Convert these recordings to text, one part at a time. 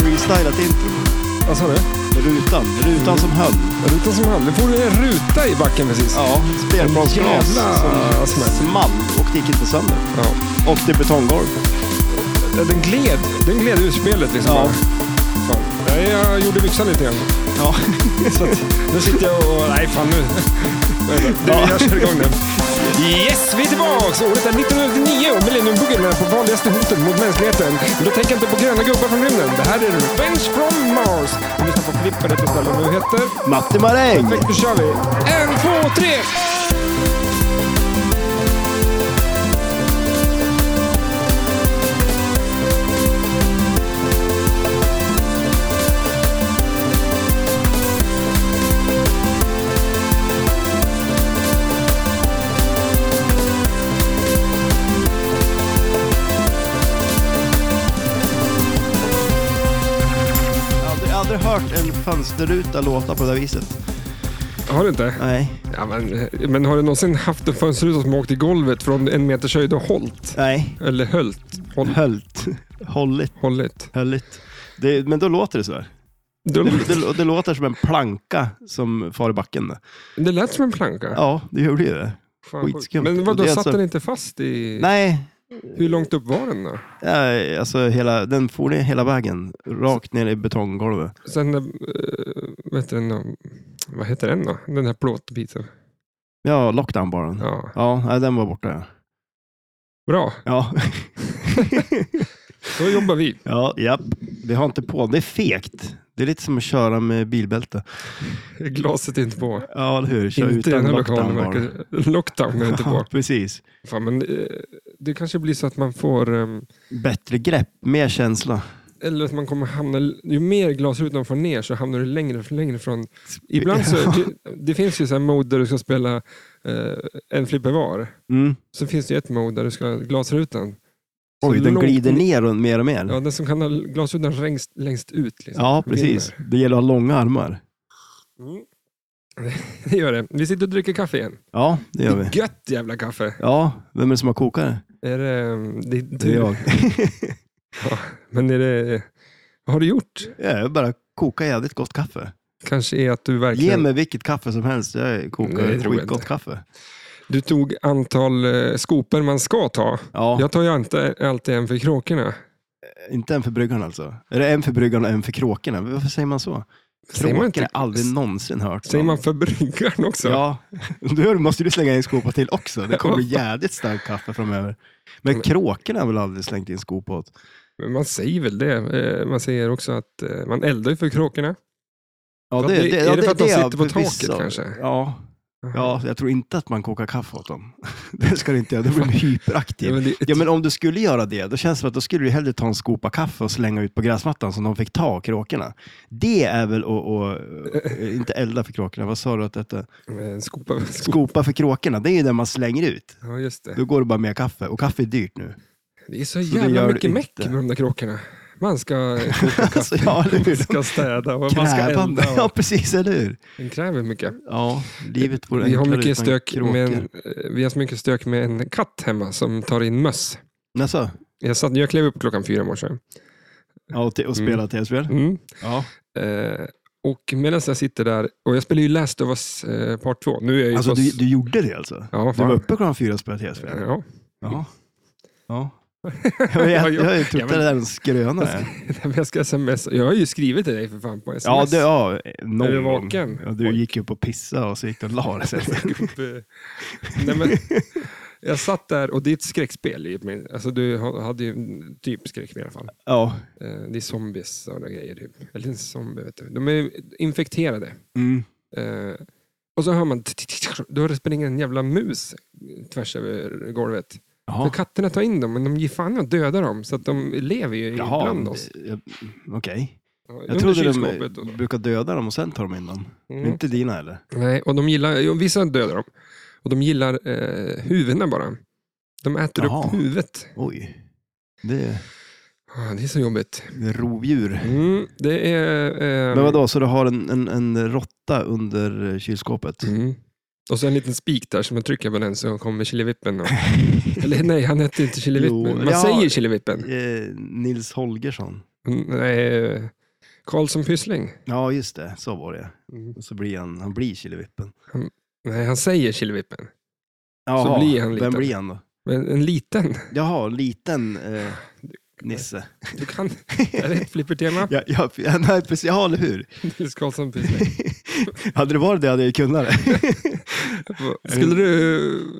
Freestylat intro. Vad sa du? Rutan. Rutan som höll. Rutan som hand. Nu får du en ruta i backen precis. Ja, spelplansglas Jävla som smäll. small och det gick inte sönder. Ja. Och det är betonggolv. Den gled. Den gled ur spelet liksom. Ja. bara. Fan. Nej, jag gjorde byxan lite grann. Ja. Så att, nu sitter jag och... Nej, fan nu. Du, jag kör igång den. Yes, vi är tillbaks! Året är 1999 och Millenniumbuggen är på vanligaste hotet mot mänskligheten. Men då tänker jag inte på gröna gubbar från rymden. Det här är Revenge from Mars. Du lyssnar på Flipper, rätt och ställe nu heter. Matti Maräng! Perfekt, då kör vi. En, två, tre! Jag har aldrig, aldrig hört en fönsterruta låta på det där viset. Har du inte? Nej. Ja, men, men har du någonsin haft en fönsterruta som åkt i golvet från en meters höjd och hållt? Nej. Eller hölt? Håll, Höllt. Hållit. hållit? Hölligt. Det, men då låter det så här. Det, Det, det, det låter som en planka som far i backen. det lät som en planka. Ja, det gjorde ju det. Fan, sjukt. skitskumt. Men vadå, Det är satt alltså- den inte fast i... Nej, Hur långt upp var den då? ja, alltså hela, den for ner hela vägen. Rakt ner i betonggolvet. Sen, eh, vet du, den- vad heter den då? Den här plåtbiten. Ja, lockdown bara. Ja. Ja, nej, den var borta. ja. Bra, Ja. då jobbar vi. ja, japp. Vi har inte på. Det är fegt. Det är lite som att köra med bilbälte. Glaset är inte på. Ja, eller hur? Kör inte i den utan här lockdown lokalen. bara. verkar- Lockdown är inte på. Ja, precis. Fan, men, eh, det kanske blir så att man får... ehm, Bättre grepp, mer känsla. Eller att man kommer hamna, ju mer glasrutan man får ner så hamnar du längre och längre från. Ibland så, det, det finns ju så här mode där du ska spela eh, en flipper var. Mm. Så finns det ju ett mode där du ska ha glasrutan. Så Oj, den långt glider ner- ner och mer och mer. Ja, den som kan ha glasrutan längst, längst ut. Liksom, Ja, precis. vinner. Det gäller att ha långa armar. Mm. Det gör det. Vi sitter och dricker kaffe igen. Ja, det gör vi. Gött jävla kaffe. Ja, vem är det som har kokat det? Är det, ehm, det, är Det är du. jag. Men är det, vad har du gjort? Jag bara kokar jävligt gott kaffe. Kanske är att du verkligen... Ge mig vilket kaffe som helst. Jag Nej, det kokar tror jag skitgott inte. kaffe. Du tog antal eh, skopor man ska ta. Ja, Jag tar ju inte alltid en för kråkorna. inte en för bryggan alltså. Är det en för bryggan och en för kråkorna? Varför säger man så? Säger man, Kråkor har inte, jag aldrig någonsin hört. säger man för bryggan också? Ja, då måste du slänga in en skopa till också. Det kommer bli jävligt starkt kaffe framöver. Men kråkorna har väl aldrig slängt in skop åt? Men Man säger väl det. Eh, Man säger också att eh, man eldar ju för kråkorna. Ja, För att det- är det för att de har sitter på taket vissa- kanske? Ja. ja, jag tror inte att man kokar kaffe åt dem. Det ska du inte göra, då blir de Ja, hyperaktiva. men det, Ja, men om du skulle göra det, då känns det som att då skulle du hellre ta en skopa kaffe och slänga ut på gräsmattan som de fick ta, kråkorna. Det är väl att, att- att inte elda för kråkorna, vad sa du att detta? eh, skopa, skopa. Skopa för kråkorna, det är ju det man slänger ut. Ja, just det. Då går det bara mer kaffe, och kaffe är dyrt nu. Det är så det gör jävla du mycket meck inte. med de där kråkorna. Man ska koka Alltså, kaffe, ja, eller hur? man ska städa och man ska Krävande. elda. Ja, och- precis, eller hur? Det kräver mycket. Ja, livet vore Vi har, enklare mycket utan stök kråkor. med en, eh, vi har så mycket stök med en katt hemma som tar in möss. Jaså? Jag, satt, jag klev upp klockan fyra i morse. Ja, och, te- och spela tv-spel? Mm. Ja. Eh, och medan jag sitter där, och jag spelar ju Last of Us eh, part 2. Nu är jag ju Alltså, fast... du, du gjorde det alltså? Ja, Du fan. var uppe klockan fyra och spelade tv-spel? Ja. Ja. ja. Jag, jag, jag, jag trodde Ja, men- det där var en skröna. Nej, men jag ska sms. Jag har ju skrivit till dig för fan på sms. Ja, det, ja, någon Är du gång. vaken? Ja, du gick upp och pissade och så gick du och la dig sen. Eh, Nej, men, jag satt där och det är ett skräckspel. i min- Alltså, du ha- hade ju typ skräck i alla fall. Ja. Eh, det är zombies och några grejer. Typ. Eller en zombie, vet du. De är ju infekterade. Mm. Eh, och så hör man... Då springer en jävla mus tvärs över golvet. Jaha. För katterna tar in dem, men de ger fan i att döda dem. Så att de lever ju Jaha. ibland oss. jag- Okej. Under Jag trodde kylskåpet och- de brukar döda dem och sen tar de in dem. Mm. Inte dina eller? Nej, och de gillar, jo, vissa dödar dem. Och de gillar eh, huvudena bara. De äter Jaha. upp huvudet. Oj. Det är, Ah, det är så jobbigt. det är rovdjur. Mm, det är... Eh, Men vadå, så du har en, en, en råtta under eh, kylskåpet? Mm. Och så en liten spik där som jag trycker på den så kommer Killevippen. Och... Eller nej, han hette inte Jo, Killevippen. Man ja. säger Killevippen. Eh, Nils Holgersson. Mm, Nej, Karlsson Pyssling. Ja, just det. Så var det. Mm. Och så blir han, han blir Killevippen. Nej, han säger Killevippen. Jaha, blir han Vem liten. blir han då? Men en liten. Jaha, liten eh, Nisse. Du kan. Är det ett flippertema? Ja, ja, nej, precis, ja, eller hur? Nils Karlsson Pyssling. Hade det varit det hade jag ju kunnat det. Skulle du,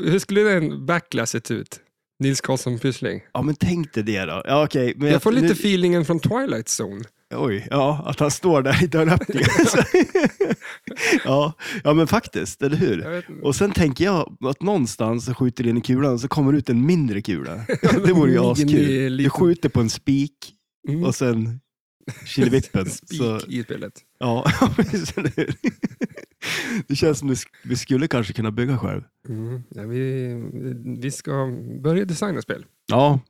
hur skulle den backlash sett ut? Nils Karlsson Pyssling. Ja, men tänk dig det då. Ja, okej. men Jag får nu- lite feelingen från Twilight Zone. Oj, ja, att han står där i dörröppningen. ja, ja, men faktiskt, eller Jag hur? vet inte. Och sen tänker jag att någonstans så skjuter du in i kulan och så kommer det ut en mindre kula. Det vore ju askul. Du Liten- skjuter på en spik Mm. och sen killevippen. Spik så- i spelet. Ja, precis, eller hur? Det känns som det- vi skulle kanske kunna bygga själv. Mm. Ja, vi, vi ska börja designa spel. Ja,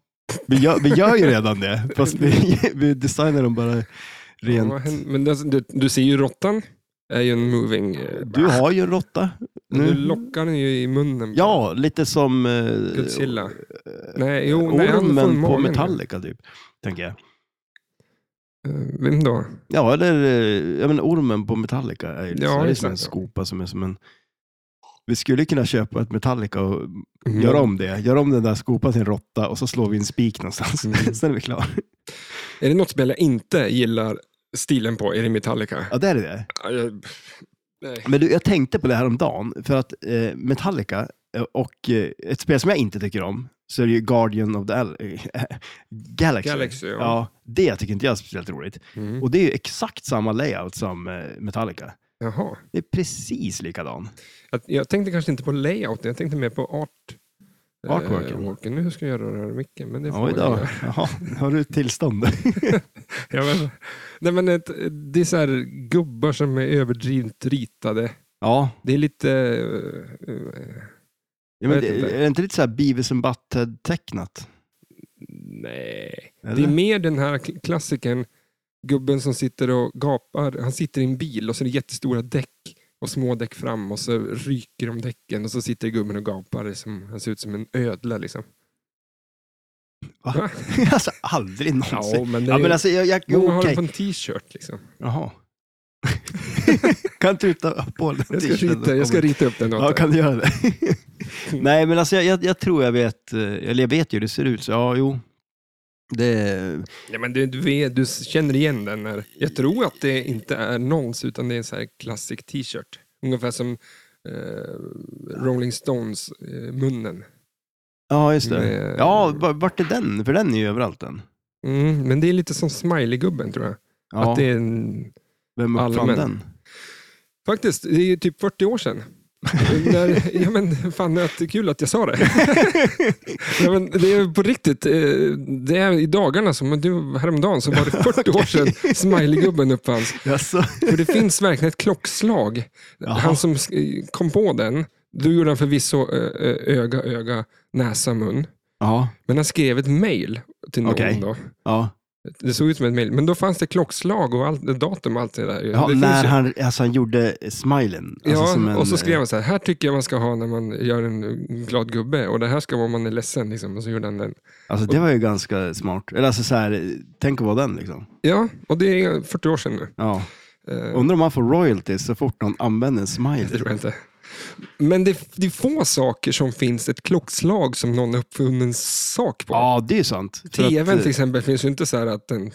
vi gör, vi gör ju redan det. Fast vi, vi designar dem bara Ja, rent. vad händer- Men det- du, du ser ju råttan. är ju en moving... eh, Du har ju en råtta Nu nu. lockar den ju i munnen. på Ja, lite som eh, Godzilla. Nej, jo, nej, han får ormen på magen. Metallica typ. Tänker jag. Eh, Vem då? Ja, eller eh, ja, men ormen på Metallica är ju Ja, ja, det är exakt, som en ja. skopa som är som en... Vi skulle kunna köpa ett Metallica och Mm. göra om det. Göra om den där skopan till en råtta och så slår vi en spik någonstans. Mm. Sen är vi klara. Är det något spel jag inte gillar stilen på? Är det Metallica? Ja, det är det. Ja, jag- Nej. Men du, jag tänkte på det här om dagen för att eh, Metallica eh, och eh, ett spel som jag inte tycker om så är det ju Guardian of the Al- Galaxy. Galaxy, ja. ja. Det tycker inte jag är speciellt roligt. Mm. Och det är ju exakt samma layout som eh, Metallica. Jaha. Det är precis likadan. Att- Jag tänkte kanske inte på layouten, jag tänkte mer på art. Artworken. Eh, walken. Nu ska jag röra röra micken, men det får Oj jag då. göra. Jaha, har du ett tillstånd? Ja, men, nej, men ett, det är så här gubbar som är överdrivet ritade. ja. Det är lite... eh, eh, ja men, Jag vet det- inte. är det inte lite så här Beavis and Butthead-tecknat? nej. Eller? Det är mer den här kl- klassikern, gubben som sitter och gapar. Han sitter i en bil och så är det jättestora däck och små däck fram och så ryker de däcken och så sitter gubben och gapar. Som, han ser ut som en ödla liksom. Va? alltså, aldrig någonsin. Ja, men, men, alltså, jag... jag Många har okej. den på en t-shirt liksom. Jaha. kan inte du ta på den Jag ska, t-shirten och rita, jag ska komma- rita upp den Ja, åt dig. kan du göra det? Nej, men alltså jag, jag, jag tror jag vet, eh, eller jag vet ju hur det ser ut, så ja, jo. Det, Ja, men du, du, vet, du känner igen den. Här. Jag tror att det inte är någons, utan det är en så här klassisk t-shirt. Ungefär som eh, Rolling eh, Stones-munnen. ja, just det. Med- Ja, va- vart är den? För den är ju överallt den. mm, men det är lite som Smiley-gubben, tror jag. Ja, Att det är en... vem uppfann allmän. den? Faktiskt, det är ju typ 40 år sedan. När, ja, men, fan, att, det är kul att jag sa det. ja, men, det är på riktigt. eh, Det är i dagarna, som men du, häromdagen, så var det 40 år sedan Smiley-gubben uppfanns. Jaså? För det finns verkligen ett klockslag. Jaha. Han som sk- kom på den, då gjorde han förvisso ö, ö, öga, öga, näsa, mun. Ja, Men han skrev ett mejl till någon Okej. då. ja. Det såg ut som ett mejl, men då fanns det klockslag och allt, datum och allt det där. ja det finns när ju. han, alltså han gjorde smilen. Alltså ja, som en, och så skrev han så här, här tycker jag man ska ha när man gör en glad gubbe och det här ska vara om man är ledsen. Liksom. Och så gjorde han den. Alltså det var ju ganska smart. Eller alltså så här, eh, tänk att vara den liksom. Ja, och det är 40 år sedan nu. Ja. Eh, Undrar om han får royalties så fort någon använder en Det smile. tror jag inte. Men det, det är få saker som finns ett klockslag som någon har uppfunnit en sak på. Ja, det är ju sant. För att, TVn eh, till exempel finns ju inte så här att den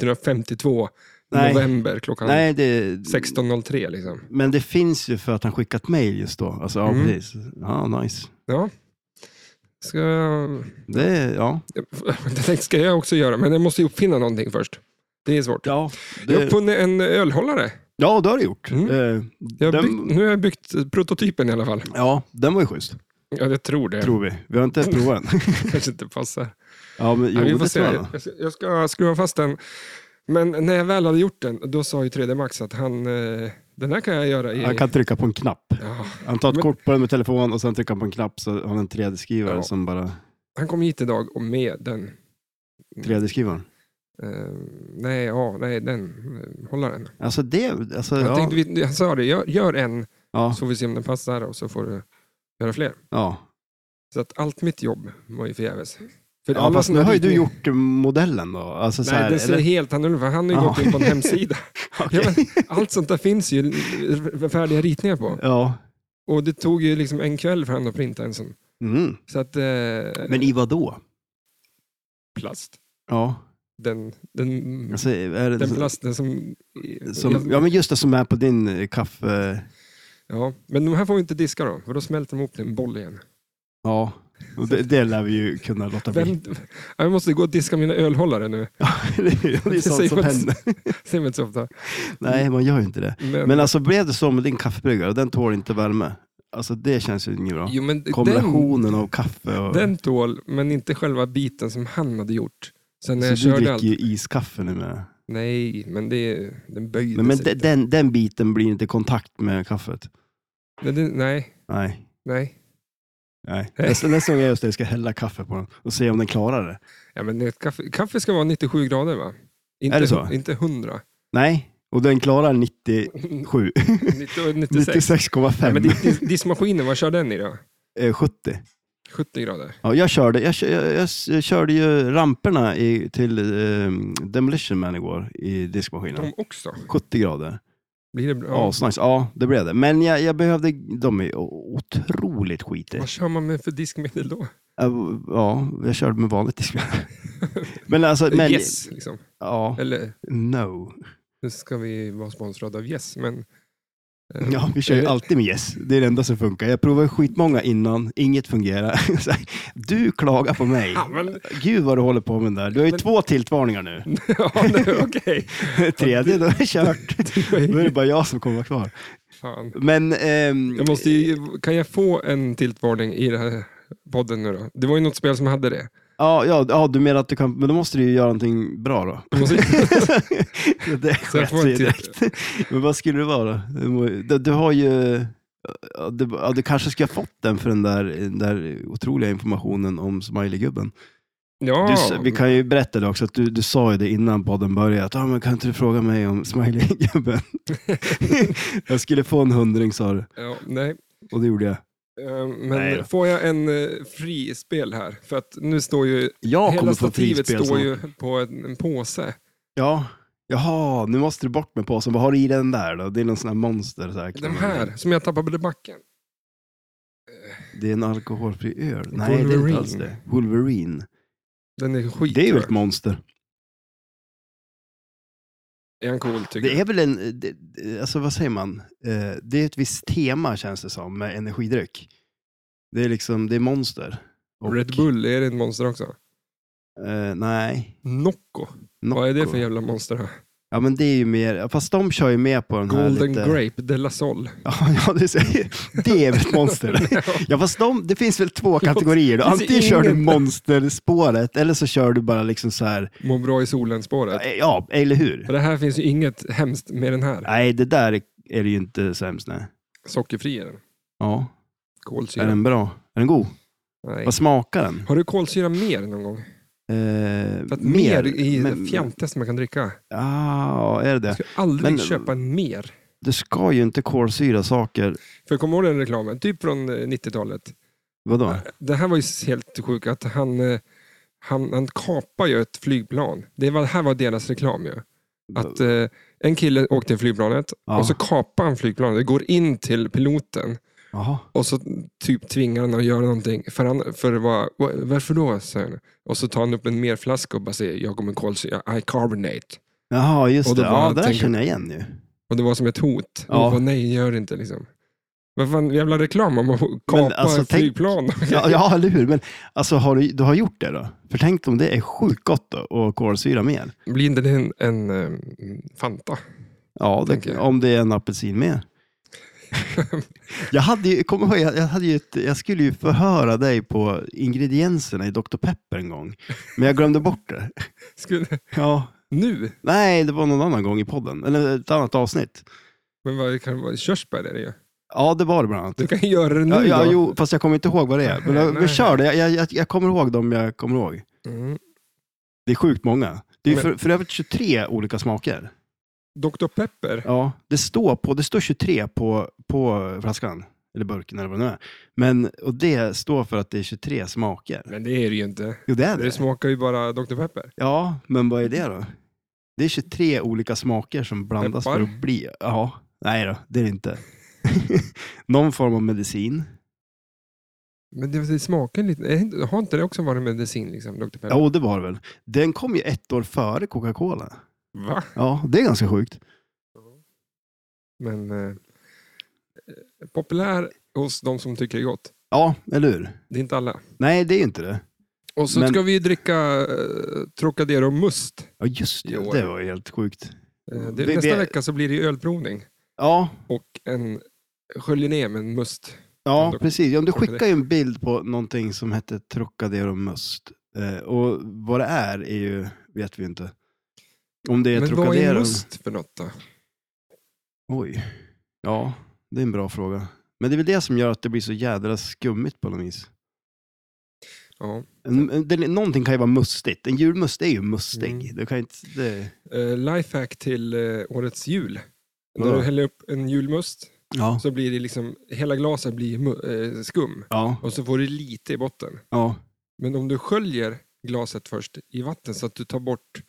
1952 Nej. november klockan Nej, det, 16.03 liksom. Men det finns ju för att han skickat mejl just då. Alltså, ja, Mm. precis. Ja, nice. Ja. Ska jag... Det, ja. Det tänkte- ska jag också göra, men jag måste ju uppfinna någonting först. Det är svårt. Ja, Jag har uppfunnit en ölhållare. ja, det har du gjort. Mm. Eh, Jag har Den- byggt, nu har jag byggt prototypen i alla fall. ja, den var ju schysst, Ja, jag tror det. tror vi. Vi har inte provat den. kanske inte passar. ja, men, jo, Nej, Mm. vi får det se. tror jag. Jag ska, jag ska skruva fast den. Men när jag väl hade gjort den, då sa ju 3D Max att han, eh, den här kan jag göra i... Han kan trycka på en knapp. ja. Han tar ett Men- kort på den med telefon och sen trycker han på en knapp så har han en 3D-skrivare Ja. som bara... han kom hit idag och med den 3D-skrivaren. Eh, nej, ja, nej, den eh, hållaren. Alltså det... Alltså, Jag ja. tänkte, vi- han sa det, gör, gör en Ja, Så får vi se om den passar och så får du göra fler. ja. Så att allt mitt jobb var ju förgäves. För ja fast såna nu har ju ritningar- du gjort eh, modellen då. Alltså, så Nej, här, den ser eller- helt annorlunda för han har ju Ja. gått in på en hemsida. Okej. Ja, men, allt sånt där finns ju r- färdiga ritningar på. Ja. Och det tog ju liksom en kväll för han att printa en sån. Mm. Så att, eh, Men i vad då? plast. Ja, Den, den, alltså, är det den plasten som... som, ja, men just det som är på din eh, kaffe... Ja, men de här får vi inte diska då, för då smälter de ihop till en boll igen. Ja, och det, det lär vi ju kunna låta bli. Vem, jag måste gå och diska mina ölhållare nu. det är ju sånt säger som man- händer. Ser man inte så ofta. Nej, man gör ju inte det. Men, Men alltså blev det så med din kaffebryggare, den tål inte värme. Alltså det känns ju inget bra. jo, men den, Kombinationen av kaffe och... den tål, men inte själva biten som han hade gjort. Sen när jag så du körde dricker allt. ju iskaffe nu med. Nej, men det, den böjde Men, men sig de- lite. den, den biten blir inte i kontakt med kaffet. Nej, det- nej, Nej. nej. Nej. Nästa, nästa gång jag gör just det, jag ska hälla kaffe på den och se om den klarar det. Ja, men ett kaffe, kaffe ska vara 97 grader va? Inte, det så? Inte 100. Nej, och den klarar 97. 90 96. 96,5. Ja, men dis- dis- diskmaskinen, vad kör den i då? Eh, 70. 70 grader. Ja, jag, körde, jag, kö- jag, jag, s- jag körde ju ramperna i, till ehm, Demolition Man igår i diskmaskinen. De också? 70 grader. Blir det bra? Ja, nice. ja det blev det. Men jag, jag behövde, de är o- otroligt skitiga. Vad kör man med för diskmedel då? Ja, Ja, jag körde med vanligt diskmedel. Men alltså, men, yes, liksom. ja, Eller, no. nu ska vi vara sponsrade av Yes, men... eh, Ja, vi kör ju eh, alltid med yes. Det är det enda som funkar. Jag provade skitmånga innan, inget fungerar. Så här, Du klagar på mig. Ja, men... Gud vad du håller på med den där. Du har ju Men- två tiltvarningar nu. Ja, nej, okej. Tredje, då är det kört. Då är det bara jag som kommer vara kvar. Fan. Men... ehm, Jag måste ju, kan jag få en tiltvarning i den här podden nu då? Det var ju något spel som hade det. ja, ja, ja, du menar att du kan... Men då måste du ju göra någonting bra då. Jag måste, det så jag sket får sig en till, direkt. Men vad skulle det vara? Du, må- du, du har ju... ja, Du, ja, du kanske skulle ha fått den för den där, den där otroliga informationen om Smileygubben. Du ja, s- vi kan ju berätta det också, att du, du sa ju det innan podden började, att ah, men kan inte du fråga mig om Smileygubben? jag skulle få en hundring sa du, ja, nej. och det gjorde jag. Eh, Men Nej då. får jag en eh, frispel här? För att nu står ju... Jag kommer hela få stativet frispel står snart. ju på en, en påse. Ja. Jaha, nu måste du bort med påsen. Vad har du i den där då? Det är någon sån här monster säkert. Den här, som jag tappade i backen. Det är en alkoholfri öl. Nej, det är inte Wolverine. alls det. Wolverine. Den är skit. Det är väl tror ett jag. monster? Är han cool tycker Det är väl en, det, det- alltså vad säger man? Eh, Det är ett visst tema känns det som med energidryck. Det är liksom, det är monster. jag. Och- Red Bull, är det ett monster också? Eh, nej. Nocco. Vad är det för jävla monster? Här? Ja men det är ju mer, fast de kör ju med på den här Golden lite... Grape de la Sol. Ja, ja du säger, det är väl ett monster. Ja fast de, det finns väl två kategorier då. Det finns Antingen kör du ingen- monsterspåret eller så kör du bara liksom så här, Må bra i solen-spåret. ja eller hur? För det här finns ju inget hemskt med den här. Nej det där är det ju inte sämst nej. Sockerfri är den. Ja, Kolsyra. är den bra? Är den god? Nej. Vad smakar den? Har du kolsyra mer någon gång? Eh, För att mer, är men- det fjantigaste man kan dricka. Ja, är det Jag det? ska aldrig Men- köpa mer. Du ska ju inte kolsyra saker. För kommer du ihåg den reklamen? Typ från eh, 90-talet. Vadå? Det här var ju helt sjukt. Att han, eh, han, han kapar ju ett flygplan. Det var, här var deras reklam ju. Att eh, en kille åkte i flygplanet Ja. och så kapar han flygplanet. Det går in till piloten Jaha. och så typ tvingar han att göra någonting. För, han, för det var, "Va- varför då? säger han. Och så tar han upp en merflaska och bara säger jag kommer kolsyra, I carbonate. Jaha, just Och det. då bara Ja, det där tänker- känner jag igen ju. Och det var som ett hot. Ja. Och bara, nej, gör det inte liksom. Vad fan, jävla reklam om att kapa alltså, tänk- flygplan. Ja, ja, eller hur? Men alltså, har du, du har gjort det då? För tänk om det är sjukt gott då, att kolsyra mer. Blir inte det en, en ehm, Fanta? Ja, Tänker det, jag. om det är en apelsin mer. jag, hade ju, kom ihåg, jag, jag, hade ju ett, jag skulle ju förhöra dig på ingredienserna i Dr. Pepper en gång, men jag glömde bort det. Skulle, Ja. nu? Nej, det var någon annan gång i podden, eller ett annat avsnitt. Men vad kan det vara? Körsbär är det ju. Ja, det var det bland annat. Du kan ju göra det nu Ja, ja, då. jo, fast jag kommer inte ihåg vad det är. Men jag, Nej. men kör det, jag, jag- jag, jag kommer ihåg dem jag kommer ihåg. Mm. Det är sjukt många. Det är ju Men- för, för övrigt 23 olika smaker. Dr. Pepper? Ja, det står, på, det står 23 på, på flaskan, eller burken eller vad det nu är. Men, och det står för att det är 23 smaker. Men det är det ju inte. Jo, det är Det det. smakar ju bara Dr. Pepper. Ja, men vad är det då? Det är 23 olika smaker som blandas Peppar? för att bli... Ja, nej då, det är det inte. Någon form av medicin. Men det, det smakar lite... är inte- Har inte det också varit medicin, liksom, Dr. Pepper? Ja, och det var det väl. Den kom ju ett år före Coca-Cola. Va? Ja, det är ganska sjukt. Men... Eh, eh, populär hos de som tycker det är gott. Ja, eller hur? Det är inte alla. Nej, det är ju inte det. Och så Men- ska vi ju dricka eh, Trocadero Must. Ja, just Jo, det. Det ja. var ju helt sjukt. Eh, det, Vi- nästa vi- vecka så blir det ju ölprovning. Ja, Och en... Sköljer ner med en must. Ja, Dock- precis. Ja, om du dock är det- skickar ju en bild på någonting som hette Trocadero Must. Eh, och vad det är, är ju, vet vi ju inte. Om det är Men vad är Trocadero. must för något då? Oj. Ja, det är en bra fråga. Men det är väl det som gör att det blir så jädra skummigt på något vis. Ja. En, en, det, någonting kan ju vara mustigt. En julmust är ju mustig. Mm. Det kan ju inte, det, Eh, lifehack till eh, årets jul. När Vadå? du häller upp en julmust ja. så blir det liksom, hela glaset blir mu- eh, skum Ja, och så får du lite i botten. ja. Men om du sköljer glaset först i vatten så att du tar bort,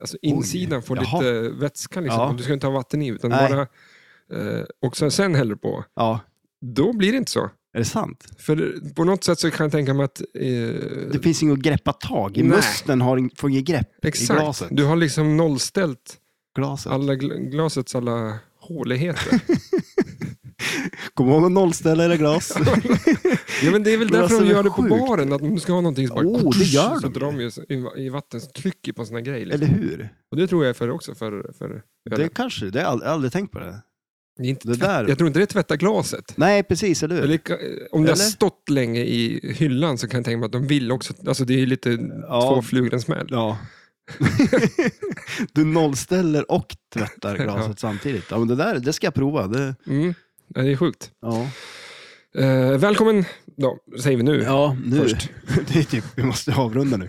alltså insidan får jaha. lite vätska liksom. Ja. Du ska inte ha vatten i utan Nej. bara, eh, och sen, sen häller du på. ja. Då blir det inte så. Är det sant? För på något sätt så kan jag tänka mig att, Det eh, finns inget att greppa tag i. Nej. Musten har, ing- får inget grepp i exakt, glaset. du har liksom nollställt glaset. alla gl- glasets alla håligheter. Kom ihåg att nollställa era glas. Ja, men det är väl Men därför alltså, de det är gör det på sjukt. baren, att om du ska ha någonting så bara... Oh, det gör så de drar de ju så- i, i vatten, så trycker på såna grejer. Liksom. Eller hur? Och det tror jag är för också för... för Det kanske, det har jag ald- aldrig tänkt på det. det är inte det tvätt, där- Jag tror inte det tvättar glaset. Nej, precis, eller hur? Eller, ka- om det har Typ. Eller? stått länge i hyllan så kan jag tänka mig att de vill också... Alltså det är ju lite Ja. två flugor i en smäll. Ja. du nollställer och tvättar glaset Ja. samtidigt. Ja, men det där det ska jag prova. Det, Mm. Ja, det är sjukt. ja. Eh, välkommen, då, säger vi nu. ja, nu. Först. det är typ, vi måste avrunda nu.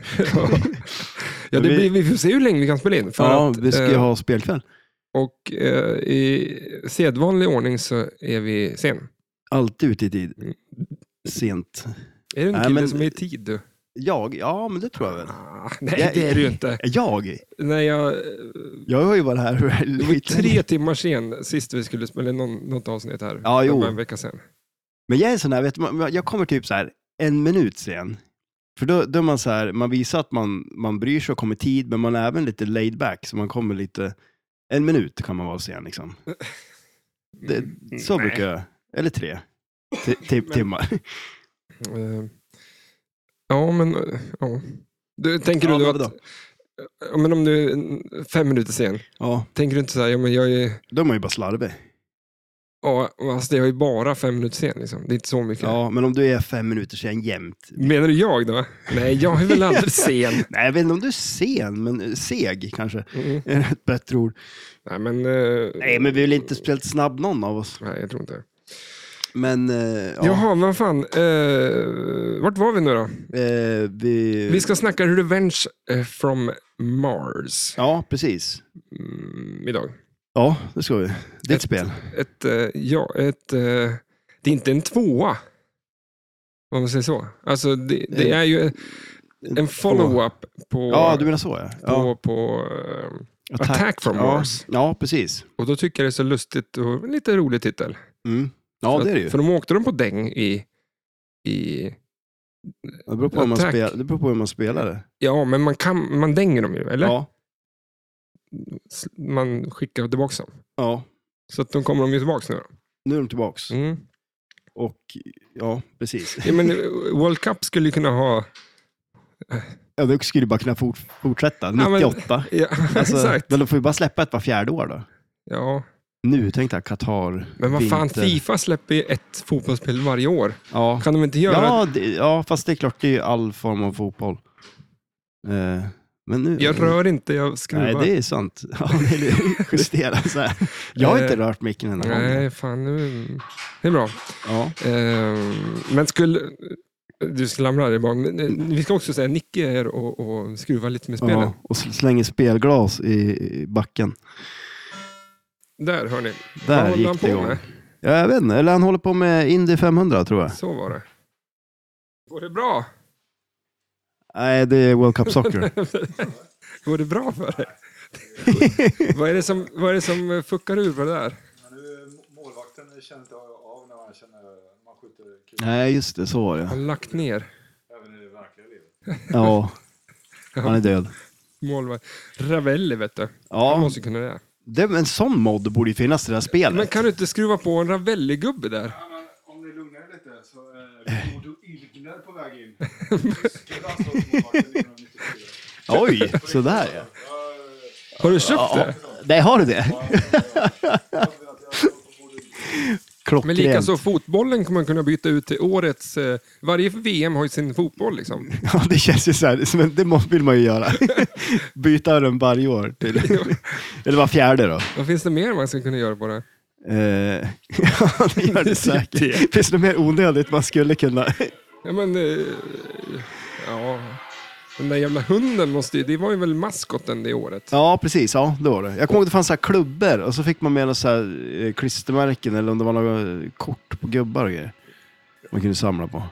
ja, det Vi- blir, vi får se hur länge vi kan spela in. För ja, att, vi ska eh, ju ha spelkväll. Och eh, i sedvanlig ordning så är vi sen. Alltid ute i tid. Mm. Sent. Är det en Nej, kille men- som är i tid du? Jag? Ja, men det tror jag väl. Ah, nej, Jag- det är det ju inte. Jag? När jag, eh, Jag har ju varit här hur det var ju lite. tre timmar sen sist vi skulle spela, eller någon, något avsnitt här. Ja, Det jo. var en vecka sen. Men jag är sån här, vet man, jag kommer typ så här en minut sen. För då, då är man så här, man visar att man, man bryr sig och kommer i tid, men man är även lite laid back, så man kommer lite, en minut kan man vara sen liksom. Det, så Mm, Nej. brukar jag, eller tre ti- ti- timmar. Eh, ja, men... eh, Ja. Du, tänker Ja, du då men att... Ja, Men om du är en- fem minuter sen, Ja, tänker du inte så här, ja, men jag är, då är man ju bara slarvig. ja, alltså, jag är bara fem minuter sen. Liksom. Det är inte så mycket. Ja, men om du är fem minuter sen jämt. Menar du jag då? Nej, jag är väl aldrig sen. Nej, jag vet inte om du är sen, men eh, seg kanske Mm. är ett bättre ord. Nej, men... eh, Nej, men vi är väl inte speciellt snabb någon av oss. Nej, jag tror inte. Men, eh, ja. Jaha, vad fan. Eh, vart var vi nu då? Eh, vi... Vi ska snacka Revenge eh, from Mars Ja, precis. mm, idag. Ja, det ska vi. Ditt Ett- spel. Ett, eh, ja, ett, eh, det är inte en tvåa, om man säger så. Alltså, det, det Eh, är ju en follow-up på, Ja, du menar så ja. ja. på, på eh, Attack, from ja. Mars. Ja, precis. Och då tycker jag det är så lustigt och lite rolig titel. Mm. Ja, för, det är det att- ju. för de åkte de på däng i, i... Det beror på hur man, Attack. spel... det beror på hur man spelar det. Ja, men man, kan, man dänger dem ju, eller? Ja. S- Man skickar tillbaka dem. ja, Så att de kommer de ju tillbaka nu. då. nu är de tillbaks. Mm. Och ja, precis. Ja, men eh, World Cup skulle ju kunna ha... Ja, då skulle du bara kunna fort, fortsätta. Ja, men- 98. Ja, Alltså, exakt. Men då får vi bara släppa ett var fjärde år då. Ja, Nu, tänk dig Qatar. men vad fan, vinter. Fifa släpper ju ett fotbollsspel varje år. Ja. Kan de inte göra... Ja, det, ja, fast det är klart, det är ju all form av fotboll. Eh, men nu... Jag rör inte, jag skruvar. Nej, det är sant. Ja, det är justera så här. Jag har inte Eh, rört micken en enda gång. Nej, fan. Nu... Det är bra. Ja. Ehm, men skulle... Du slamrar dig bara. Men, eh, Vi ska också säga Nicke här och, och skruva lite med spelen. Ja, och sl- slänger spelglas i i backen. Där hör ni. Vad Där håller han gick på det igång. med? Ja, jag vet inte, eller han håller på med Indy 500 tror jag. Så var det. Går det bra? Nej, det är World Cup Soccer. Går det bra för dig? vad, är det som, vad är det som fuckar ur på det där? Men nu, målvakten känner inte av när man, känner, man skjuter kul, Nej, just det, så var det. Han har lagt ner även i det verkliga livet. Ja, han är död. målvakt. Ravelli vet du. Han Ja, måste kunna det. det, en sån mod borde ju finnas i det här spelet. Men kan du inte skruva på en Ravelli-gubbe där? Ja, men om ni lugnar er lite så eh, är Bodo Ilgner på väg in. alltså Tyska landslagsmålvakten 1994. Oj, sådär ja. Ja, ja, ja. Har du köpt ja. det? Nej, har du det? Jag vet att jag har på Bodo Ilgner. Klockrent. Men likaså fotbollen kommer man kunna byta ut till årets... Eh, varje VM har ju sin fotboll liksom. Ja, det känns ju så här, som en- det må- vill man ju göra. Byta den varje år. Till. Eller var fjärde då. Vad finns det mer man skulle kunna göra på det? Eh, ja, det gör det säkert. Finns det mer onödigt man skulle kunna... Ja, men... Eh, ja. Den där jävla hunden måste ju... Det var ju väl maskoten det året? Ja, precis. Ja, det var det. Jag kommer ihåg att det fanns så här klubbor och så fick man med några så här eh, klistermärken eller om det var några eh, kort på gubbar och grejer. Man kunde samla på.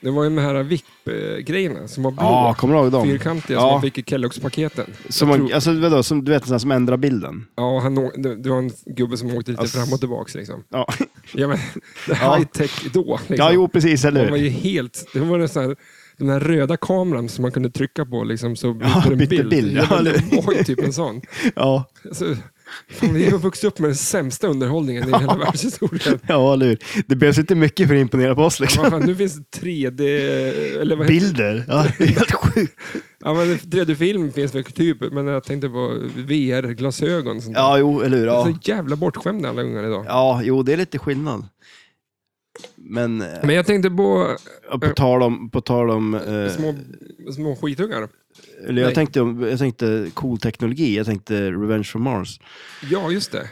Det var ju de här VIP-grejerna som var blå. Ja, kommer du ihåg dem? Fyrkantiga som Ja. man fick i Kelloggs-paketen. Som Jag man, tror- alltså, vadå, som, du vet, en sån här som ändrar bilden. Ja, han, å- det det var en gubbe som åkte lite Ass- fram och tillbaks liksom. Ja, Ja, men, det Alltså- Ja. high-tech då. Liksom. ja jo, precis. Eller Det var hur? ju helt... Det var så här, den här röda kameran som man kunde trycka på liksom, så Ja, bytte den bytte bild, ja, men det eller- var ju typ en sån. Ja, Alltså, fan, vi har vuxit upp med den sämsta underhållningen i hela världshistorien. ja, eller hur? Det behövs inte mycket för att imponera på oss. Liksom. Vad fan, nu finns det 3D... Eller vad heter Bilder. Ja, det är helt sjukt. ja, men 3D-film finns väl typ, men jag tänkte på VR-glasögon. och Sånt där. Ja, jo, eller hur? Det är Ja. Så jävla bortskämda alla ungar idag. ja, jo, det är lite skillnad. Men eh, Men jag tänkte på på tal om... På tal om eh, små, små skitungar. eller jag, nej. tänkte, om- jag tänkte cool teknologi. Jag tänkte Revenge from Mars. Ja, just det.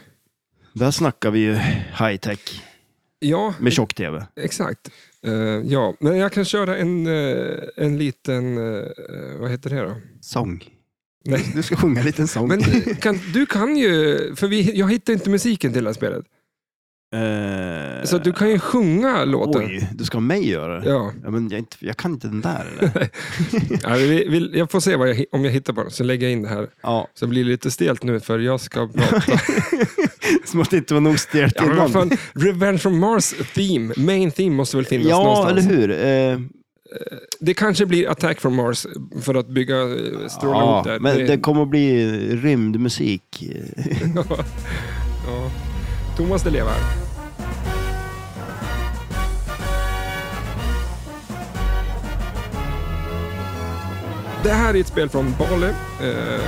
Där snackar vi ju high-tech Ja, med tjock-tv. Exakt. Eh, ja, men jag kan köra en, eh, en liten, eh, vad heter det då? Sång. Nej. Du ska sjunga en liten sång. Men kan, du kan ju, för vi, jag hittar inte musiken till det här spelet. Eh, Så du kan ju sjunga låten. Oj, du ska ha mig göra det? Ja, Ja, men jag, är inte, jag kan inte den där. Eller? Ja, vi, vi, jag får se vad jag, hi- om jag hittar på den, så lägger jag in det här. ja, Så det blir lite stelt nu, för jag ska prata. som att det inte var nog stelt Ja, men innan. vad fan, Revenge from Mars theme, main theme måste väl finnas Ja, någonstans? eller hur? Eh, Det kanske blir Attack from Mars för att bygga eh, strålar ja, ihop där. men Det- det kommer att bli rymdmusik. ja. Ja. Thomas det lever. Det här är ett spel från Bale, eh,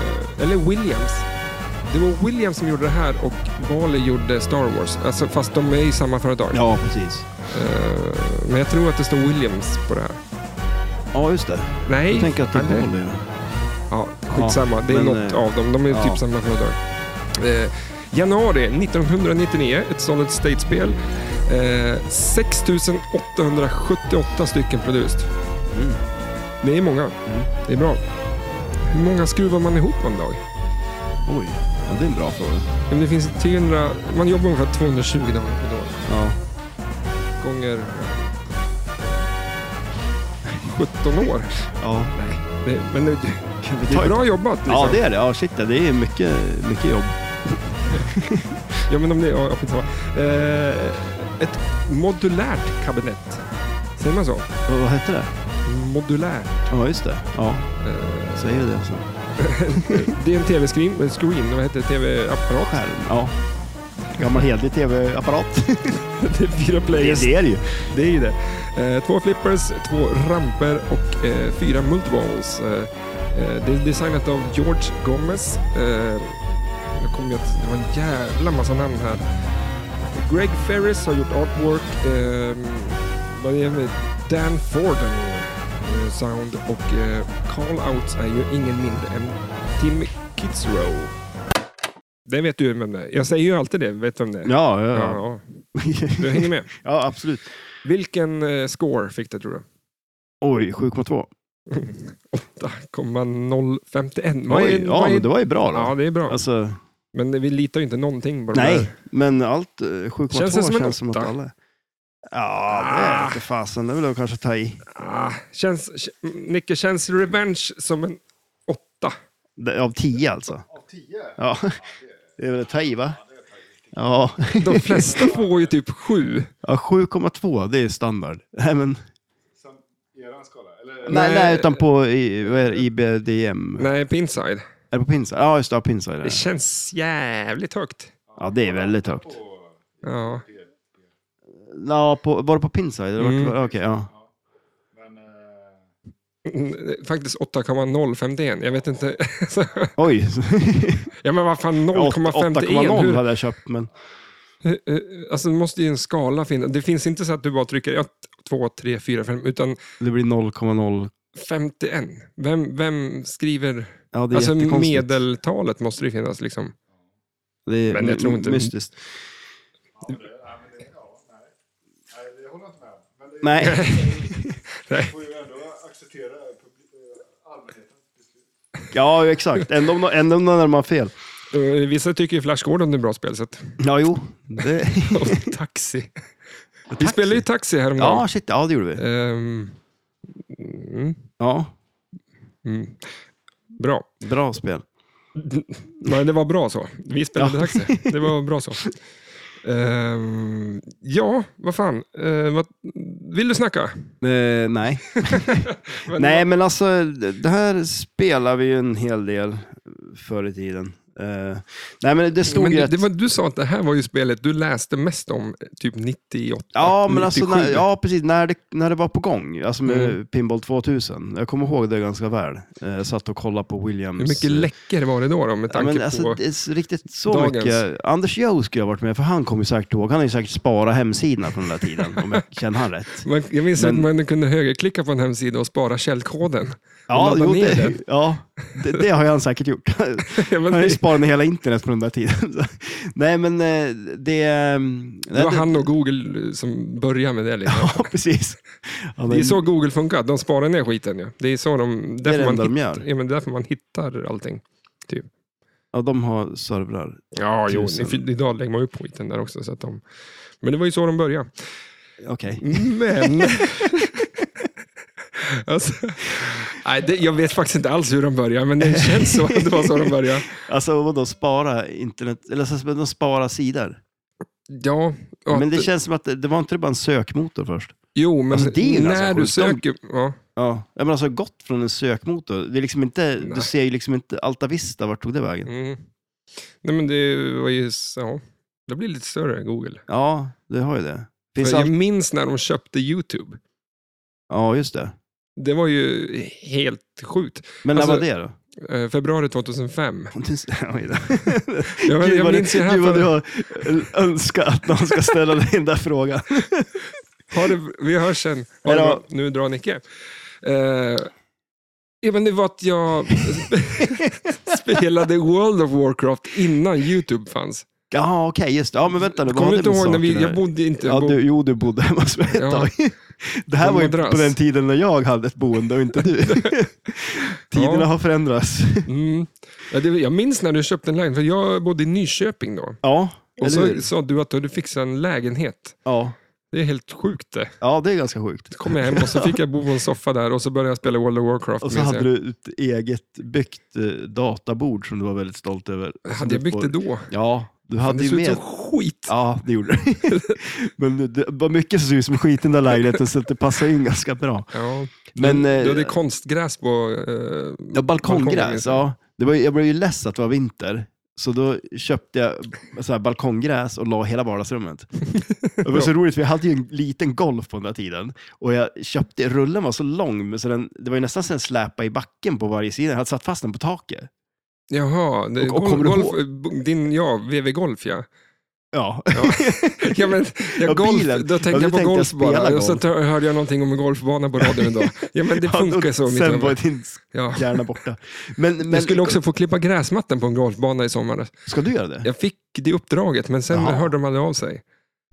eller Williams. Det var Williams som gjorde det här och Bale gjorde Star Wars. Alltså, fast de är i samma företag. Ja, precis. Eh, men jag tror att det står Williams på det här. Ja, just det. Nej, Jag tänker att det eller- är Bali. Ja, skitsamma. det är men, något eh, av dem. De är ja. typ samma företag. Eh, januari 1999, ett Solid State-spel. Eh, 6878 stycken produced. Mm. Det är många. Det är bra. Hur många skruvar man ihop på en dag? Oj, ja, det är en bra fråga. Ja, men Det finns 300, man jobbar ungefär 220 dagar per dag. Ja. Gånger 17 år. Ja. Det, men det, det är bra jobbat. Liksom. Ja, det är det. Ja, shit, ja, det är mycket, mycket jobb. Ja, men om det... Ja, skitsamma. Eh, ett modulärt kabinett. Säger man så? Och vad hette det? Modulärt. Ja, just det. Ja, Eh, säger du det så. det är en tv-screen, eh, screen, vad heter det? Tv-apparat. Skärm. Ja. Gammal hederlig tv-apparat. Det är fyra Det players. är det ju. Det är ju det. Eh, två flippers, två ramper och eh, fyra multiballs. Eh, eh, det är designat av George Gomez. Eh, nu kommer jag att det var en jävla massa namn här. Greg Ferris har gjort artwork. Eh, vad är det med Dan Forden eh, sound och eh, Call Outs är ju ingen mindre än Tim Kitzrow. Det vet du vem det är. Jag säger ju alltid det. Vet du vem det är? Ja, ja, ja. ja. Du hänger med. ja absolut. Vilken eh, score fick det tror du? Oj, 7,2. 8,051. Vad Oj, är- ja, vad är- men det var ju bra då. Ja, det är bra. Alltså, Men vi litar ju inte någonting på de här. Nej, men allt eh, 7,2 Känns känns, det som en som att åtta? alla... Ja, det vete fasen. Det vill jag kanske ta i. Ah, känns, Nicke, känns Revenge som en åtta? Det- Av 10 alltså. Av tio? Ja, det är väl att ta i va? Ja, De flesta får ju typ sju. ja 7,2 det är standard. Nej, men, Som eran skala? Eller? nej, Nej. nej, utan på i- vad är det, IBDM. Nej, på inside. Är det på Pinsa? Ja, just det, ja, Pinsa är Det det. känns jävligt högt. Ja, det är väldigt högt. På- Ja. Ja, på, var det på Pinsa? Eller vart- Mm. Okej, ja. Men, eh, Mm, Faktiskt 8,051. Jag vet inte. Oj, ja, men vad fan 0,51? 8,0 Hur- hade jag köpt, men hur- hur- Alltså, det måste ju en skala finnas. Det finns inte så att du bara trycker 1, 2, 3, 4, 5, utan det blir 0,0. 51. Vem, vem skriver... Ja, det är Alltså jättekonstigt. medeltalet måste det ju finnas liksom. Det är Men jag tror inte- mystiskt. ja, det, nej, men det, ja, nej. nej, det håller jag inte med om. Men det, Nej, vi får ju ändå acceptera publi- eh, allmänhetens beslut. ja exakt. Ändå om- ändå om när man har fel. Eh, Vissa tycker ju Flash Gordon är ett bra spel. Så att... Ja, jo. Det... Och taxi. Vi spelade ju Taxi häromdagen. Ja, shit. Ja, det gjorde vi. Ehm, mm, Ja, mm. Bra. bra spel. Nej, det var bra så. Vi spelade Ja. Taxi. Det var bra så. Ehm, ja, vad fan. Eh, vad, vill du snacka? Eh, nej. Men- nej, men alltså det här spelar vi ju en hel del förr i tiden. Eh, nej, men det stod Men ju det, att... det var, du sa att det här var ju spelet du läste mest om, eh, typ 98, Ja, men alltså, 97. när, ja, precis. När det, när det var på gång, alltså med Mm. Pinball 2000. Jag kommer ihåg det ganska väl. Eh, Jag satt och kollade på Williams. Hur mycket läcker var det då, då med Ja, tanke men alltså, på... det är så- riktigt så dagens. mycket. Anders Joe skulle ha varit med, för han kommer ju säkert ihåg. Han har ju säkert sparat hemsidorna från den där tiden, om jag känner han rätt. Man, jag minns Men- att man kunde högerklicka på en hemsida och spara källkoden. Ja, ladda jo, ner det, den. ja det, det har han säkert gjort. Ja, men Han har ju det, sparat ner hela internet på den där tiden. Så, Nej, men eh, det... ehm, det var nej, han och Google eh, som började med det. Liksom. Ja, precis. Ja, Det är men- så Google funkar, de sparar ner skiten. Ja. Det är så de, därför, det man enda de hittar, gör. ja, men därför man hittar allting. ja, de har servrar. Ja, jo, Tusen. i- idag lägger man upp skiten där också. Så att de, men det var ju så de började. Okej. Men... alltså, nej, det, jag vet faktiskt inte alls hur de började, men det känns så att det var så de började. Alltså vadå, spara internet, eller så de spara sidor. Ja, och Men att- det känns som att det, det var inte det bara en sökmotor först? jo, men alltså, det är ju ganska när du sjukt. De- söker... Ja, Ja. Jag menar alltså gått från en sökmotor. Det är liksom inte, Nej. du ser ju liksom inte Alta Vista, vart tog det vägen? mm. Nej, men det var ju... Ja, det blir lite större, Google. Ja, det har ju det. Finns För jag all... minns när de köpte YouTube. Ja, just det. Det var ju helt sjukt. Men när Alltså- var det då? Eh, februari 2005. Oj då. Jag, men, Gud jag vad, minns ju du, här Gud vad du för, har önskat att någon ska ställa dig den där frågan. ha det, Vi hörs sen. Ha det Hej då. bra. Nu drar Nicke. Eh, ja, men det var att jag spelade World of Warcraft innan YouTube fanns. Ja, okej, just det. Ja, men vänta nu. vad Kommer har du det inte med ihåg när vi... saken Jag här? bodde inte... Ja, bo- du, jo, du bodde hemma hos mig ett Ja. tag. Det här På var ju madrass. på den tiden när jag hade ett boende och inte du. Tiderna Ja. har förändrats. Mm. Ja, det, jag minns när du köpte en lägenhet, för jag bodde i Nyköping då. Ja, Och eller hur? så sa du att du hade fixat en lägenhet. Ja. Det är helt sjukt det. ja, det är ganska sjukt. Så kom jag hem och så fick jag bo på en soffa där och så började jag spela World of Warcraft. Och så minns hade jag. du ett eget byggt eh, databord som du var väldigt stolt över. Som Hade jag du byggt det får- då? Ja, du hade det ju såg ut med... som skit. Ja, det gjorde det. Men det var mycket som såg ut som skit i den där lägenheten så att det passade in ganska bra. Ja. Men, Men, du eh, hade konstgräs på... eh, Ja, balkongen, balkonggräs. liksom. Ja. Det var, ju- jag blev ju less att det var vinter, så då köpte jag så här, balkonggräs och la hela vardagsrummet. Det var så roligt, för jag hade ju en liten golf på den där tiden. Och jag köpte, rullen var så lång, men så den, det var ju nästan så en släpa i backen på varje sida. Jag hade satt fast den på taket. Jaha, det, Och- och golf, kommer du golf, din, ja, VV Golf ja. Ja, ja men, ja, Ja, golf, bilen. då Ja, tänkte du jag på tänkte golf spela bara, och golf. så hör- hörde jag någonting om en golfbana på radion idag. Ja men det funkar och så. i mitt Sen huvud. var din ja. hjärna borta. Men, men, Jag skulle också få klippa gräsmattan på en golfbana i sommar. Ska du göra det? Jag fick det uppdraget, men sen Jaha. hörde de aldrig av sig.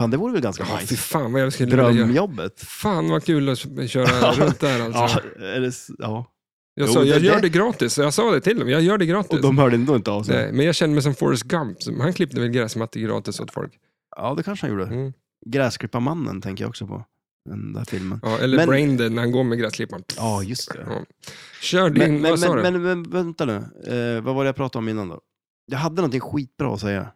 Fan, det vore väl ganska Ja, fy nice? fan vad jag skulle vilja göra. Drömjobbet. Fan vad kul att köra runt där alltså. Ja, eller, s- ja. Jag Jo, sa, det- jag gör det- det gratis. Jag sa det till dem, jag gör det gratis. Och de hörde ändå inte av sig. Nej, men jag känner mig som Forrest Gump. som- Han klippte väl gräsmattor gratis åt folk. Ja, det kanske han gjorde. Mm. Gräsklipparmannen tänker jag också på. Den där filmen. Ja, eller Men- Braindead när han går med gräsklipparen. Ja, just det. Ja. Kör din, Men, men, vad sa men, du? men, men vänta nu. Eh, vad var det jag pratade om innan då? Jag hade någonting skitbra att säga.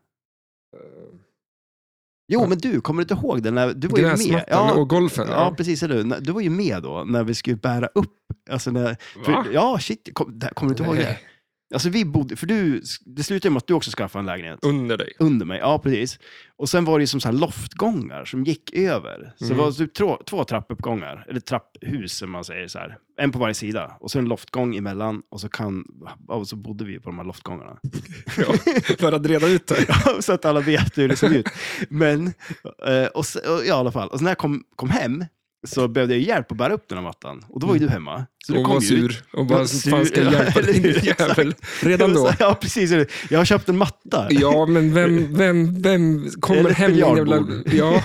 Jo, Ja. men du, kommer du inte ihåg den? När, du var ju med. Gräsmattan Ja, och golfen. ja, precis. Eller? hur? Du var ju med då, när vi skulle bära upp. Alltså när, Va? för, ja, shit. Kom, där, kommer du inte ihåg det? Nej, Alltså vi bodde, för du, det slutade ju med att du också skaffade en lägenhet. Under dig. Under mig, ja precis. Och sen var det ju som så här loftgångar som gick över. Så Mm. det var typ två, två trappuppgångar, eller trapphus som man säger så här. En på varje sida och så en loftgång emellan och så, kan, och så bodde vi på de här loftgångarna. Ja, för att reda ut det. så att alla vet hur det såg ut. Men, eh, och, s- och, ja, i alla fall. Och så när jag kom, kom hem så behövde jag ju hjälp att bära upp den här mattan. Och då var ju du hemma. Så du Mm. och kom var ju ut. sur. Och bara, Var sur, fan ska jag ja, hjälpa eller dig hur? din jävel? Redan då. Ja, precis. Jag har köpt en matta. Ja, men vem, vem, vem kommer Eller ett hem med en jävla... biljardbord. Ja,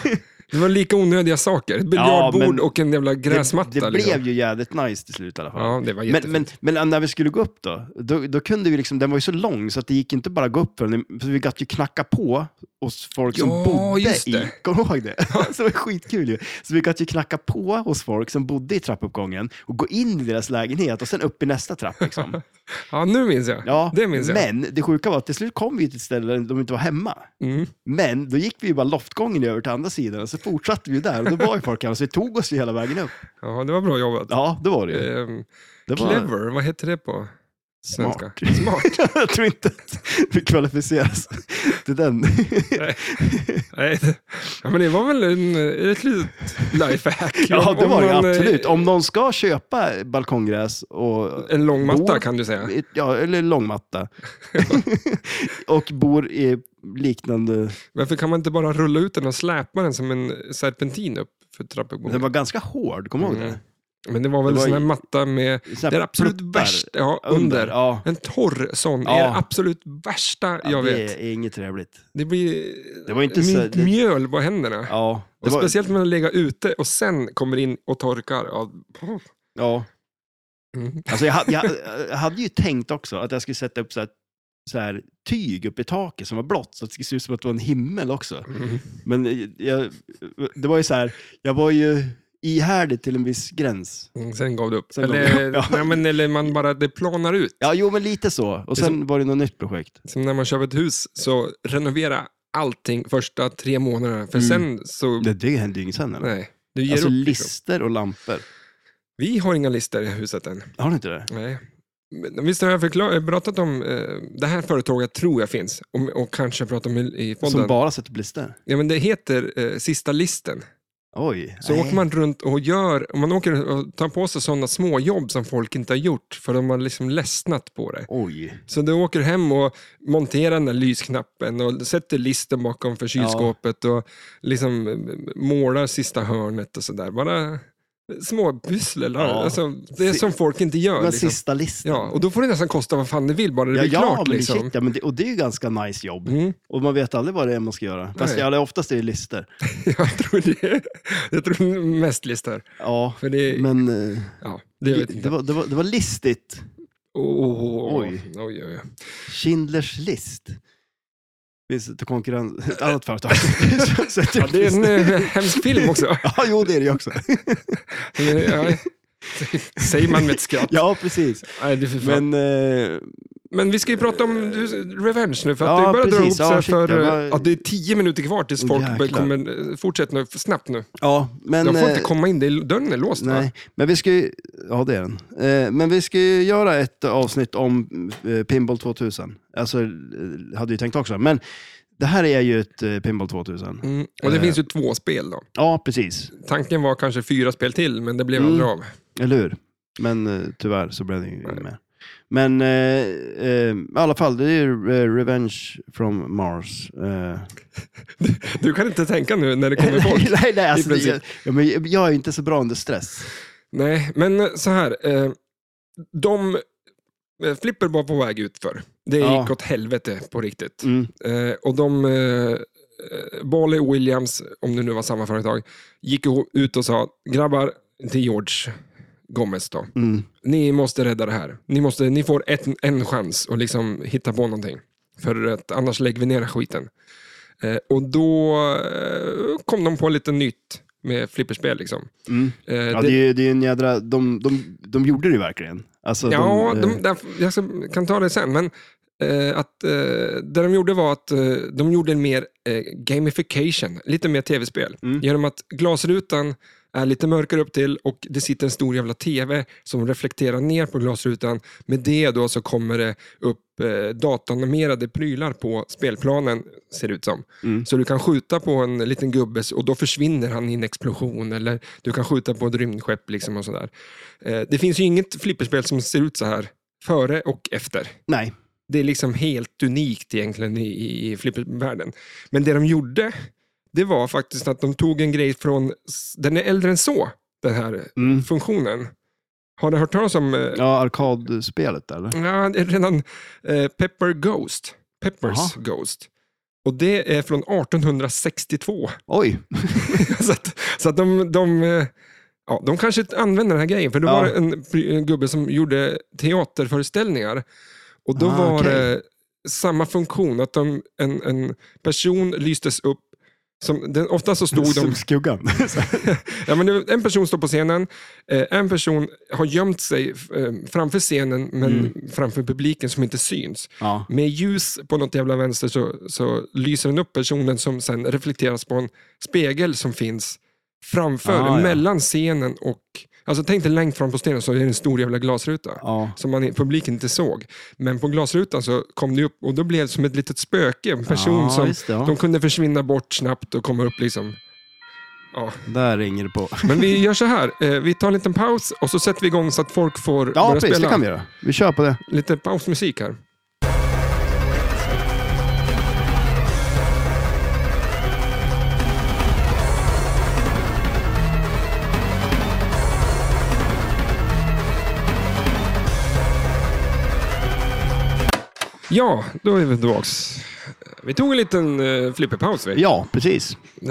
det var lika onödiga saker. Ett biljardbord men- och en jävla Det- gräsmatta. Det, liksom. blev ju jävligt nice till slut i alla fall. Ja, det var jättefint. Men, men, men när vi skulle gå upp då, då, då kunde vi liksom, den var ju så lång så att det gick inte bara att gå upp för den, för vi gatt ju knacka på hos folk som Ja, bodde just i, det. kommer du ihåg det? så det var skitkul ju. Så vi gatt ju knacka på hos folk som bodde i trappuppgången och gå in i deras lägenhet och sen upp i nästa trapp liksom. Ja, nu minns jag. Ja, det minns jag. Men det sjuka var att till slut kom vi till ett ställe där de inte var hemma. Mm. Men då gick vi ju bara loftgången över till andra sidan och så fortsatte vi ju där och då var ju folk här så vi tog oss ju hela vägen upp. Ja, det var bra jobbat. Ja, det var det ju. Ehm, Det var... Clever, vad heter det på svenska? Smart. Smart. jag tror inte att vi kvalificeras till den. Nej. Nej. det- Ja, men det var väl en, eh, ett litet lifehack. ja, Om- det om var det man, eh, absolut. Om någon ska köpa balkonggräs och... En lång matta Bord. kan du säga. Ja, eller långmatta. och bor i liknande... Varför kan man inte bara rulla ut den och släpa den som en serpentin upp för Den trappuppgången? var ganska hård, kommer du ihåg det? Men det var väl Det en var sån här ju- matta med Så här Mm. det är absolut pluttar värsta, ja, under. Under, ja. En torr sån Ja. är det absolut värsta ja jag det vet. är inget trevligt. Det blir Det var inte så- mitt det- mjöl på händerna. Ja, det och var, Speciellt när man lägger ute och sen kommer in och torkar. Ja, åh. ja. Mm. Alltså jag, hade, jag, jag hade ju tänkt också att jag skulle sätta upp så här, så här tyg uppe i taket som var blått, så att det skulle se ut som att det var en himmel också. Mm. Men jag, det var ju så här, jag var ju ihärdig till en viss gräns. Mm, Sen gav du upp. Sen gav eller, du upp, ja. nej, men, eller man bara, det planar ut. Ja, jo, men lite så. Och Det är sen var det något nytt projekt. Som när man köper ett hus, så renovera allting första tre månaderna. För Mm. sen så, Det, det hände ju inget sen eller? nej, du ger Alltså upp. liksom. lister och lampor. Vi har inga listor i huset än. Har du inte det? Nej. Men Visst har jag förklar- berättat om eh, det här företaget tror jag finns och, och kanske pratat om i, i Som podden. bara sätter upp listor? ja, men det heter eh, Sista listen. Oj. Så nej. åker man runt och gör, och man åker och tar på sig sådana småjobb som folk inte har gjort för de har liksom ledsnat på det. Oj. Så du åker hem och monterar den där lysknappen och sätter listen bakom för kylskåpet och liksom eh, målar sista hörnet och sådär. Bara små pyssel. Ja. Alltså, det är som folk inte gör. Men liksom. sista listan. Ja, och då får det nästan kosta vad fan det vill, bara det Ja, blir ja, klart. men Liksom. shit, ja, men det, och det är ju ganska nice jobb. Mm, Och man vet aldrig vad det är man ska göra. Fast Nej. jag, oftast är det listor. jag tror det. Jag tror mest listor. Ja, För det, men eh, ja, det jag det, vet inte. var, det, var, det var listigt. Oh, oh, oh, Oj. oj, oj, oj. Schindlers list. Finns det konkurrens? Ett annat företag. Sätter Ja, upp det är en listor. eh, hemsk film också. Ja, jo, det är det ju också. Ja, Säger man med ett skratt. Ja, precis. Nej, det är för fan. Men, eh, Men vi ska ju prata om du- Revenge nu, för att Ja, det börjar dra ihop precis. Ja, sig shit, för... jag eh, var- Ja, det är tio minuter kvar tills folk Jäklar. kommer... eh, Fortsätt nu, f- snabbt nu. ja, men... Jag får inte eh, komma in, det är, dörren är låst va? Nej, men vi ska ju... Ja, det är den. Eh, men vi ska ju göra ett avsnitt om eh, Pinball 2000. Alltså, eh, hade ju tänkt också. Men det här är ju ett eh, Pinball 2000. Mm. Och det Eh. finns ju två spel då. Ja, precis. Tanken var kanske fyra spel till, men det blev Mm. aldrig av. Eller hur? Men eh, tyvärr så blev det ju Nej. inget mer. Men eh, eh, i alla fall, det är ju eh, Revenge from Mars. Eh, Du kan inte tänka nu när det kommer folk. nej, nej, alltså, det, princip. jag, ja, men jag- jag är inte så bra under stress. Nej, men eh, så här. eh, De... eh, Flipper var på väg ut för. Det Ja. gick åt helvete på riktigt. Mm. Eh, och de, eh, eh, Bali och Williams, om det nu var samma företag, gick ihop- ut och sa, grabbar, till George, Gomez då. Mm. Ni måste rädda det här. Ni, måste, ni får ett, en chans att liksom hitta på någonting. För att annars lägger vi ner skiten. Eh, och då eh, kom de på lite nytt med flipperspel. Liksom. Mm. Eh, Ja, det, är ju- det är ju en jädra... De, de, de gjorde det ju verkligen. Alltså, Ja, de, de, eh, där, jag ska, kan ta det sen. Men eh, att, eh, det de gjorde var att eh, de gjorde en mer eh, gamification, lite mer tv-spel. Mm. Genom att glasrutan är lite mörkare upp till och det sitter en stor jävla tv som reflekterar ner på glasrutan. Med det då så kommer det upp eh, datanimerade prylar på spelplanen, ser det ut som. Mm. Så du kan skjuta på en liten gubbe och då försvinner han i en explosion. Eller du kan skjuta på ett rymdskepp. Liksom och sådär. Eh, Det finns ju inget flipperspel som ser ut så här före och efter. Nej. Det är liksom helt unikt egentligen i, i, i flippervärlden. Men det de gjorde, det var faktiskt att de tog en grej från, s- den är äldre än så, den här Mm. funktionen. Har ni hört talas om eh, Ja, arkadspelet eller? Ja, det är redan eh, Pepper Ghost. Peppers Jaha. Ghost. Och det är från 1862. Oj! så att, så att de, de, eh, ja, de kanske använder den här grejen. För då Ja. var det en, en gubbe som gjorde teaterföreställningar. Och då Ah, var okej. det samma funktion. Att de, en, en person lystes upp. Som, den, ofta så stod de... Som skuggan. Ja, men det- en person står på scenen, eh, en person har gömt sig eh, framför scenen men Mm. framför publiken som inte syns. ja. Med ljus på något jävla vänster så, så lyser den upp personen som sen reflekteras på en spegel som finns framför, Ah, ja. mellan scenen och... Alltså tänk dig längst fram på scenen så är det en stor jävla glasruta ja. som man, publiken inte såg. Men på glasrutan så kom det upp och då blev det som ett litet spöke, en person ja, som... Ah, Just det, ja. De kunde försvinna bort snabbt och komma upp liksom... Ja. Där ringer det på. Men vi gör så här. Eh, Vi tar en liten paus och så sätter vi igång så att folk får Ja, börja precis. Det spela. kan vi göra. Vi kör på det. Lite pausmusik här. Ja, då är vi tillbaks. Vi tog en liten uh, flipperpaus. Vi. Ja, precis. Eh,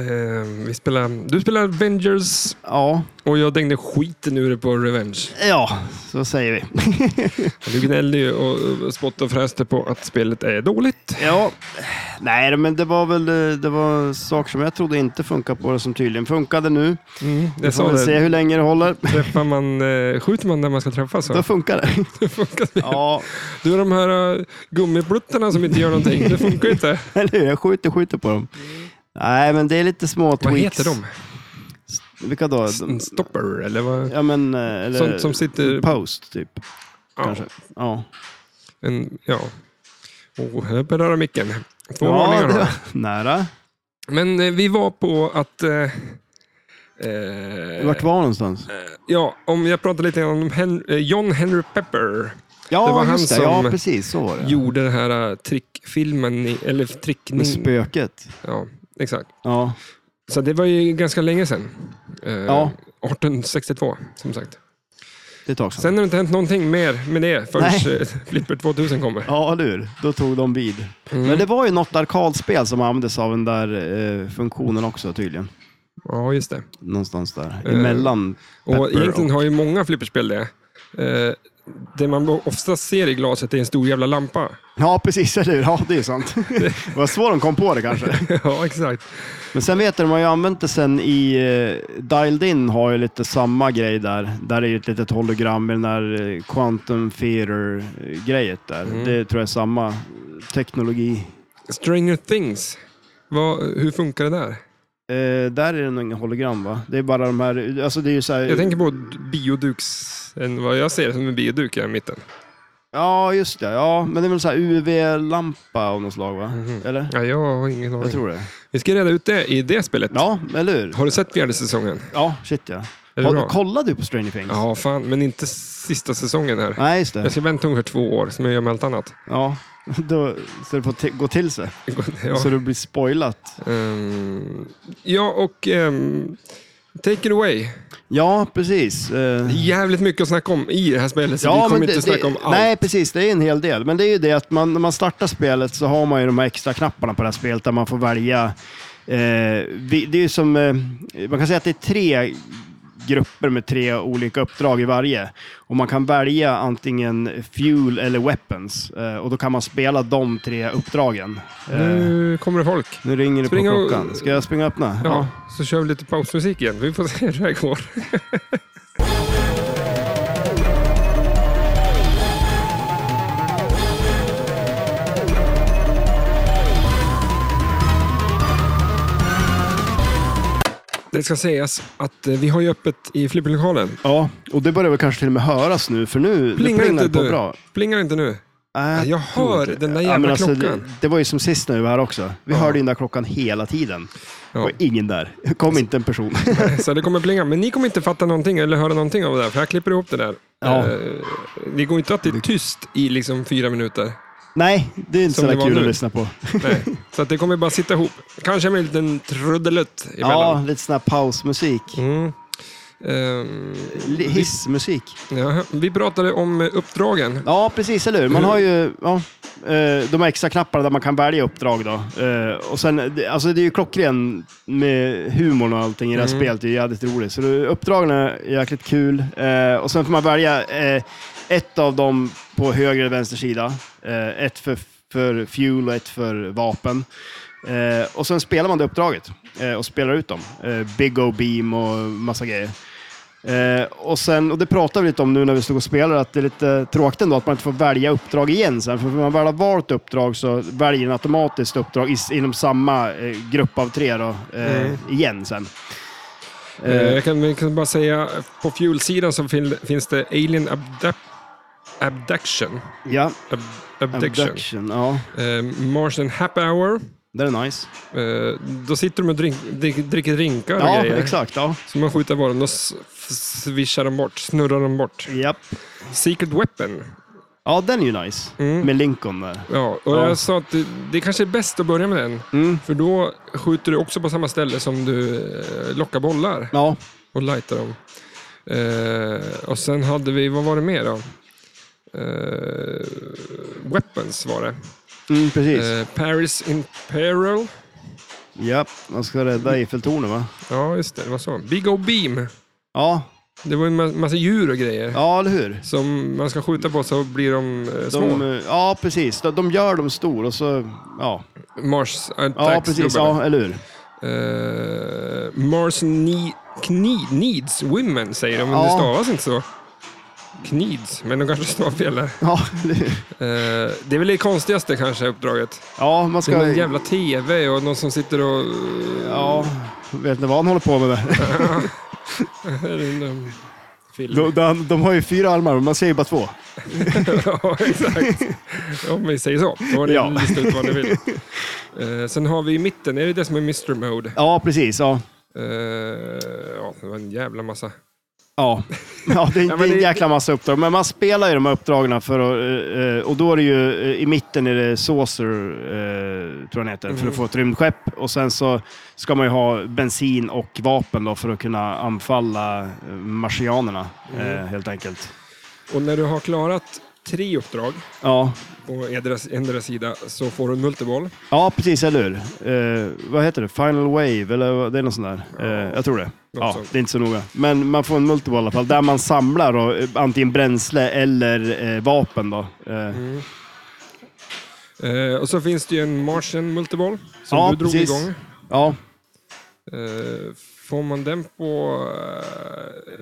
vi spelar, du spelar Avengers Ja, och jag dängde skiten ur det på Revenge. ja så säger vi. Du gnällde ju och och spottade och fräste på att spelet är dåligt. ja. Nej, men det var väl eh, det var saker som jag trodde inte funkar på det som tydligen funkade nu. Vi jag får sa väl se det. hur länge det håller. Träffar man, eh, skjuter man när man ska träffas? Då Så. funkar det. Det funkar inte. Ja, Du, de här eh, gummipluttarna som inte gör någonting. Det funkar ju inte. eller hur? Jag skjuter, skjuter på dem. Nej, men det är lite små tweaks. Mm. Vad heter de? Vilka då? En De, stopper? Eller vad? ja, men... eh, Eller, Sånt som sitter... Post, typ. Ja, Kanske. Ja. en, ja. Oh, här berör micken. Två ja, varningar det då. var nära. Men eh, vi var på att... Eh, eh, Vart var någonstans? Ja, om jag pratar lite om Hen- eh, John Henry Pepper. Ja, det var han just det. som Ja, precis. Så var det. Gjorde den här eh, trickfilmen, i- eller Med trickning. spöket. Ja, exakt. Ja. Så det var ju ganska länge sedan. Eh, Ja. 1862, som sagt. Det är ett tag sedan. Sen har det inte hänt någonting mer med det förrän Nej. eh, Flipper 2000 kommer. Ja, eller hur? Då tog de vid. Mm. Men det var ju något arkadspel som användes av den där eh, funktionen också tydligen. Ja, just det. Någonstans där. Eh, Emellan. Och Pepper egentligen och- har ju många flipperspel det. Eh, det man ofta ser i glaset är en stor jävla lampa. Ja, precis. Eller hur? Ja, det är sant. det var så de kom på det kanske. ja, exakt. Men sen vet du, de har ju använt det sen i eh, Dialed In har ju lite samma grej där. Där är ju ett litet hologram med den där eh, Quantum Theater-grejet där. Mm. Det tror jag är samma teknologi. Stranger Things. Vad, hur funkar det där? Eh, där är det nog inga hologram va? Det är bara de här, alltså det är ju så här... Jag tänker på d- bioduks, en, vad jag ser som en bioduk här i mitten. Ja, just det. Ja, men det är väl så här UV-lampa av något slag va? Eller? Mhm. Ja, jag har ingen Jag aning. tror det. Vi ska reda ut det i det spelet. Ja, eller hur? Har du sett fjärde säsongen? Ja, shit ja. Är det Har, bra? kollade du på Stranger Things? Ja, fan, men inte sista säsongen här. Nej, just Jag det. ska vänta ungefär två år, som jag gör med allt annat. Ja, då, så det får t- gå till sig. Ja, Så det blir spoilat. ehm, ja och ehm, Take it away. Ja, precis. Eh, Jävligt mycket att snacka om i det här spelet, så vi kommer inte snacka om allt. Nej, precis. Det är en hel del. Men det är ju det att man, när man startar spelet så har man ju de här extra knapparna på det här spelet där man får välja. Eh, vi, det är ju som, eh, man kan säga att det är tre grupper med tre olika uppdrag i varje. Och man kan välja antingen fuel eller weapons. Eh, och då kan man spela de tre uppdragen. Eh, Nu kommer det folk. nu ringer det på springa och- klockan. Ska jag springa och öppna? Ja, så kör vi lite pausmusik igen. Vi får se hur det här går. Det ska sägas att eh, vi har ju öppet i flipperlokalen. Ja, och det börjar väl kanske till och med höras nu, för nu nu Plingar plingar det inte på du? bra. Plingar inte nu? Nej, Jag tror hör inte. den där Ja, jävla men alltså, klockan. Det, det var ju som sist när vi var här också. Vi Ja. hörde ju den där klockan hela tiden. Det Ja, var ingen där. Det kom inte en person. så det kommer plinga. Men ni kommer inte fatta någonting eller höra någonting av det där, för jag klipper ihop det där. Ja. Eh, Det går inte att det är tyst i liksom fyra minuter. Nej, det är inte Som så det där var kul nu. att lyssna på. Nej, så att det kommer bara sitta ihop. Kanske med en liten trudelutt Ja, emellan. lite sån här pausmusik. Mm. Ehm, Li- vi, Hissmusik. ja, vi pratade om eh, uppdragen. Ja, precis, eller hur? Man Mm. har ju ja, eh, de här extra knapparna där man kan välja uppdrag. Då. Eh, Och sen, det- alltså det är ju klockren med humorn och allting i det här Mm. spelet. Det är ju jävligt roligt. Så det- uppdragen är jäkligt kul. Eh, Och sen får man välja eh, ett av dem på höger eller vänster sida. Eh, Ett för, för fuel och ett för vapen. Eh, Och sen spelar man det uppdraget eh, och spelar ut dem. Eh, Big O Beam och massa grejer. Eh, och, sen, och det pratade vi lite om nu när vi stod och spelade, att det är lite tråkigt ändå att man inte får välja uppdrag igen sen. För om man väl har valt uppdrag så väljer den automatiskt uppdrag is, inom samma eh, grupp av tre då, eh, Mm. igen sen. Eh, Eh, Jag kan, jag kan bara säga, på fuel-sidan så fin, finns det Alien abduct, Abduction. ja, Ab, abduction. abduction. Ja, Eh, Martian Happy Hour. det är nice. Eh, då sitter de och drink, drick, dricker drinkar och Ja, grejer. exakt. Ja. Så man skjuter på dem, då s- f- swishar de bort, snurrar de bort. Japp. Secret Weapon. ja, den är ju nice. Mm. Med Lincoln där. Ja, och Ja. jag sa att det, det kanske är bäst att börja med den. Mm. För då skjuter du också på samma ställe som du eh, lockar bollar Ja, och lightar dem. Eh, och sen hade vi, vad var det mer då? Eh, weapons var det. mm, precis. Eh, Paris in Peril. Japp, man ska rädda Eiffeltornet va? Ja, just det, det var så. Big O Beam. Ja, Det var en ma- massa djur och grejer ja eller hur? som man ska skjuta på så blir de eh, små. De, eh, ja, precis. De, de gör dem stor och så... Ja, Mars eh, ja precis. Attacks-gubbarna. Ja, eller hur? Eh, Mars ne- kni- needs women, säger de, men det Ja. stavas inte så. Kneeds, men de kanske stavar fel där. Ja, eller hur? Eh, det är väl det konstigaste kanske uppdraget. ja man Det är ska... någon jävla TV och någon som sitter och... eh, Ja, vet inte vad han håller på med där. de, film. De, de, de har ju fyra armar, men man ser ju bara två. ja, exakt. Om vi säger så. Då har ni Ja. listat ut vad ni vill. Eh, sen har vi i mitten, är det det som är Mr Mode? Ja, precis. Ja, Eh, ja, det var en jävla massa. ja. ja det, men det är en det- jäkla massa uppdrag. Men man spelar ju de här uppdragen för att, eh, och då är det ju eh, i mitten är det Saucer, eh, tror jag den heter, för att få ett rymdskepp. Och sen så ska man ju ha bensin och vapen då för att kunna anfalla eh, marsianerna, eh, helt enkelt. Och när du har klarat tre uppdrag Ja, på endera, endera sida så får du en multiboll. Ja, precis, eller hur? Eh, vad heter det? Final Wave, eller vad- det är något sånt där. Eh, jag tror det. Ja, sånt. det är inte så noga. Men man får en multiball i alla fall, där man samlar då, eh, antingen bränsle eller eh, vapen. Då. Eh, Mm. Eh, och så finns det ju en Martian multiboll som Ja, du drog precis. igång. Ja, Eh, får man den på...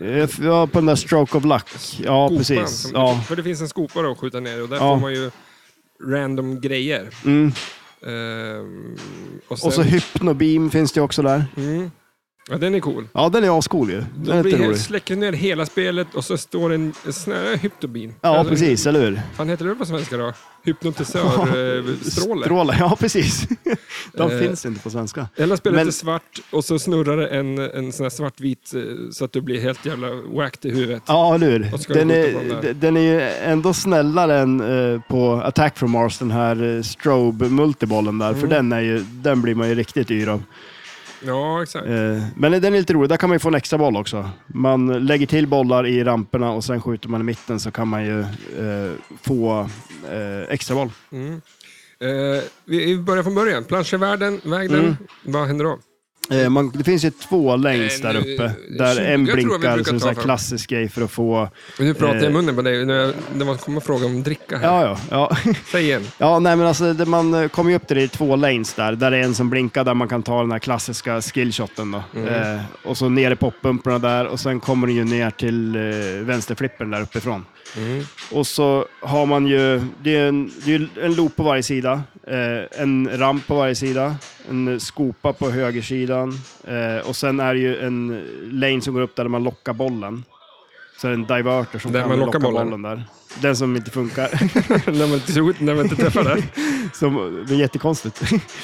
eh, eh, f- ja, på den där Stroke of Luck. Ja, skopan precis. Som, liksom Ja. För det finns en skopa då att skjuta ner och där Ja. får man ju random grejer. Mm. Ehm, och sen, Och så Hypnobeam finns det ju också där. mm, ja, den är cool. Ja, den är ascool ju. Den är Då blir lite helt, rolig. släcker ner hela spelet och så står det en, en sån här hypnobin. Ja, Eller- precis, eller hur? Vad fan heter det på svenska då? Hypnotisörstråle. Stråle, ja precis. De Eh, finns inte på svenska. Eller spelet Men- är svart och så snurrar det en, en sån här svartvit eh, så att du blir helt jävla whacked i huvudet. Ja, eller Och ska hur. Den du skjuta på är, den där? d- den är ju ändå snällare än eh, på Attack from Mars, den här eh, strobe-multibollen där, Mm. för den, är ju, den blir man ju riktigt yr av. Ja, exakt. Eh, men den är lite rolig, där kan man ju få en extra boll också. Man lägger till bollar i ramperna och sen skjuter man i mitten så kan man ju eh, få eh, extra boll. Mm. Eh, vi vi börjar från början. Planschevärlden, vägden, Mm. vad händer då? Eh, man, det finns ju två längst Eh, där nu- uppe, tjugo där en tror jag vi blinkar brukar som en ta sån här fram. klassisk grej för att få... Och nu pratar jag i Eh. munnen på dig när, jag, när man kommer fråga om dricka här. Ja, ja. ja. Säg igen. Ja, nej men alltså det, man eh, kommer ju upp till det i två lanes där. Där det är en som blinkar där man kan ta den här klassiska skillshoten då. Mm. Eh, och så ner i poppumporna där och sen kommer den ju ner till eh, vänsterflippen där uppifrån. Mm. Och så har man ju, det är en, det är ju en loop på varje sida, eh, en ramp på varje sida, en skopa på högersidan eh, och sen är det ju en lane som går upp där man lockar bollen. Så är det en diverter som Där kan man locka lockar bollen. bollen. där. Den som inte funkar. när, man tror, när man inte träffar det. Som, det är jättekonstigt.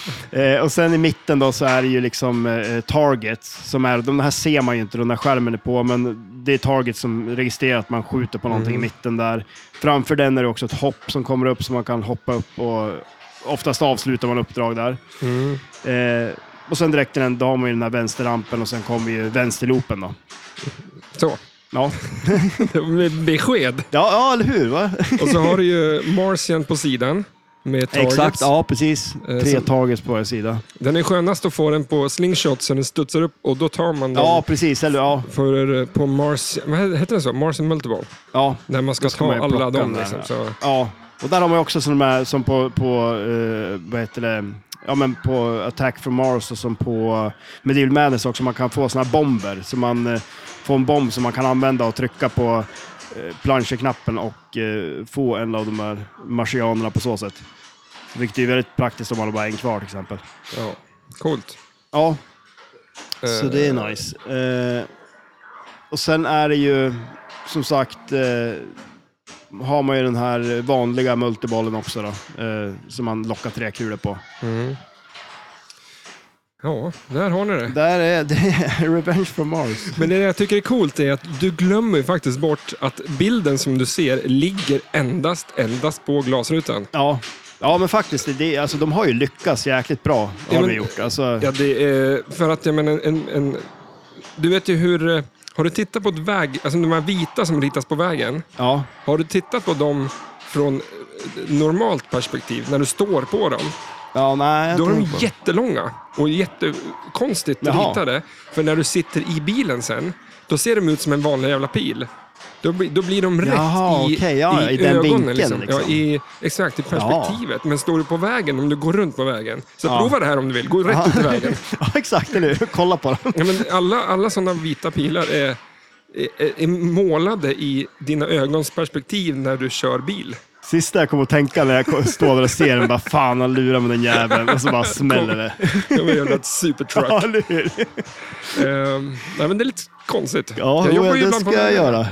eh, och sen i mitten då så är det ju liksom eh, targets. Som är, de här ser man ju inte då när skärmen är på, men det är targets som registrerar att man skjuter på någonting i mitten där. Framför den är det också ett hopp som kommer upp så man kan hoppa upp och oftast avslutar man uppdrag där. Eh, och sen direkt till den, då har man ju den här vänsterrampen och sen kommer ju vänsterloopen då. Så, Ja, det blir besked. ja, ja eller hur? Va? Och så har du ju Martian på sidan med targets. Exakt, ja precis. Eh, Tre så- targets på varje sida. Den är skönast att få den på slingshot så den studsar upp och då tar man den Ja, precis. Eller ja, för, eh, på Mars... Vad heter den så? Mars and Multiple? ja När man ska, Då ska ta man ju alla plocka den dem. där. Liksom, så. Ja, och där har man ju också sådana här som på, på eh, vad heter det, ja men på Attack from Mars och som på Medieval Madness också, man kan få sådana här bomber. Så man eh, får en bomb som man kan använda och trycka på eh, planscherknappen och eh, få en av de här marsianerna på så sätt. Vilket är ju väldigt praktiskt om man har bara en kvar till exempel. Ja. Coolt. Ja, så Eh, det är nice. Eh, och sen är det ju, som sagt, eh, har man ju den här vanliga multibollen också då, eh, som man lockar tre kulor på. Ja, där har ni det. Där är det är Revenge from Mars. Men det jag tycker är coolt är att du glömmer ju faktiskt bort att bilden som du ser ligger endast, endast på glasrutan. Ja. Ja, men faktiskt, det- det, alltså, de har ju lyckats jäkligt bra, har Ja, men- de gjort. Alltså, Ja, det är, för att jag menar, en, en, du vet ju hur... eh, Har du tittat på ett väg, alltså de här vita som ritas på vägen, ja. har du tittat på dem från eh, normalt perspektiv, när du står på dem? ja, nej. jag Då är de tänker på- jättelånga och jättekonstigt Jaha. ritade. För när du sitter i bilen sen, då ser de ut som en vanlig jävla pil. Då, bli, då blir de rätt Jaha, i, okej, ja, i, i den ögonen. vinkeln, liksom. liksom. Ja, i, exakt, i perspektivet. Men står du på vägen, om du går runt på vägen. Så Ja. prova det här om du vill, gå rätt ut i vägen. ja, exakt, eller hur? Kolla på dem. Ja, men alla alla sådana vita pilar är, är, är målade i dina ögons perspektiv när du kör bil. Sista jag kommer att tänka när jag ko- står där och ser den, bara fan, han lurar med den jäveln. Och så bara smäller det. Det var en jävla supertruck. Ja, eller hur? Ehm, nej, men det är lite konstigt. Ja, jo, ju det ibland på ska jag vägen. göra.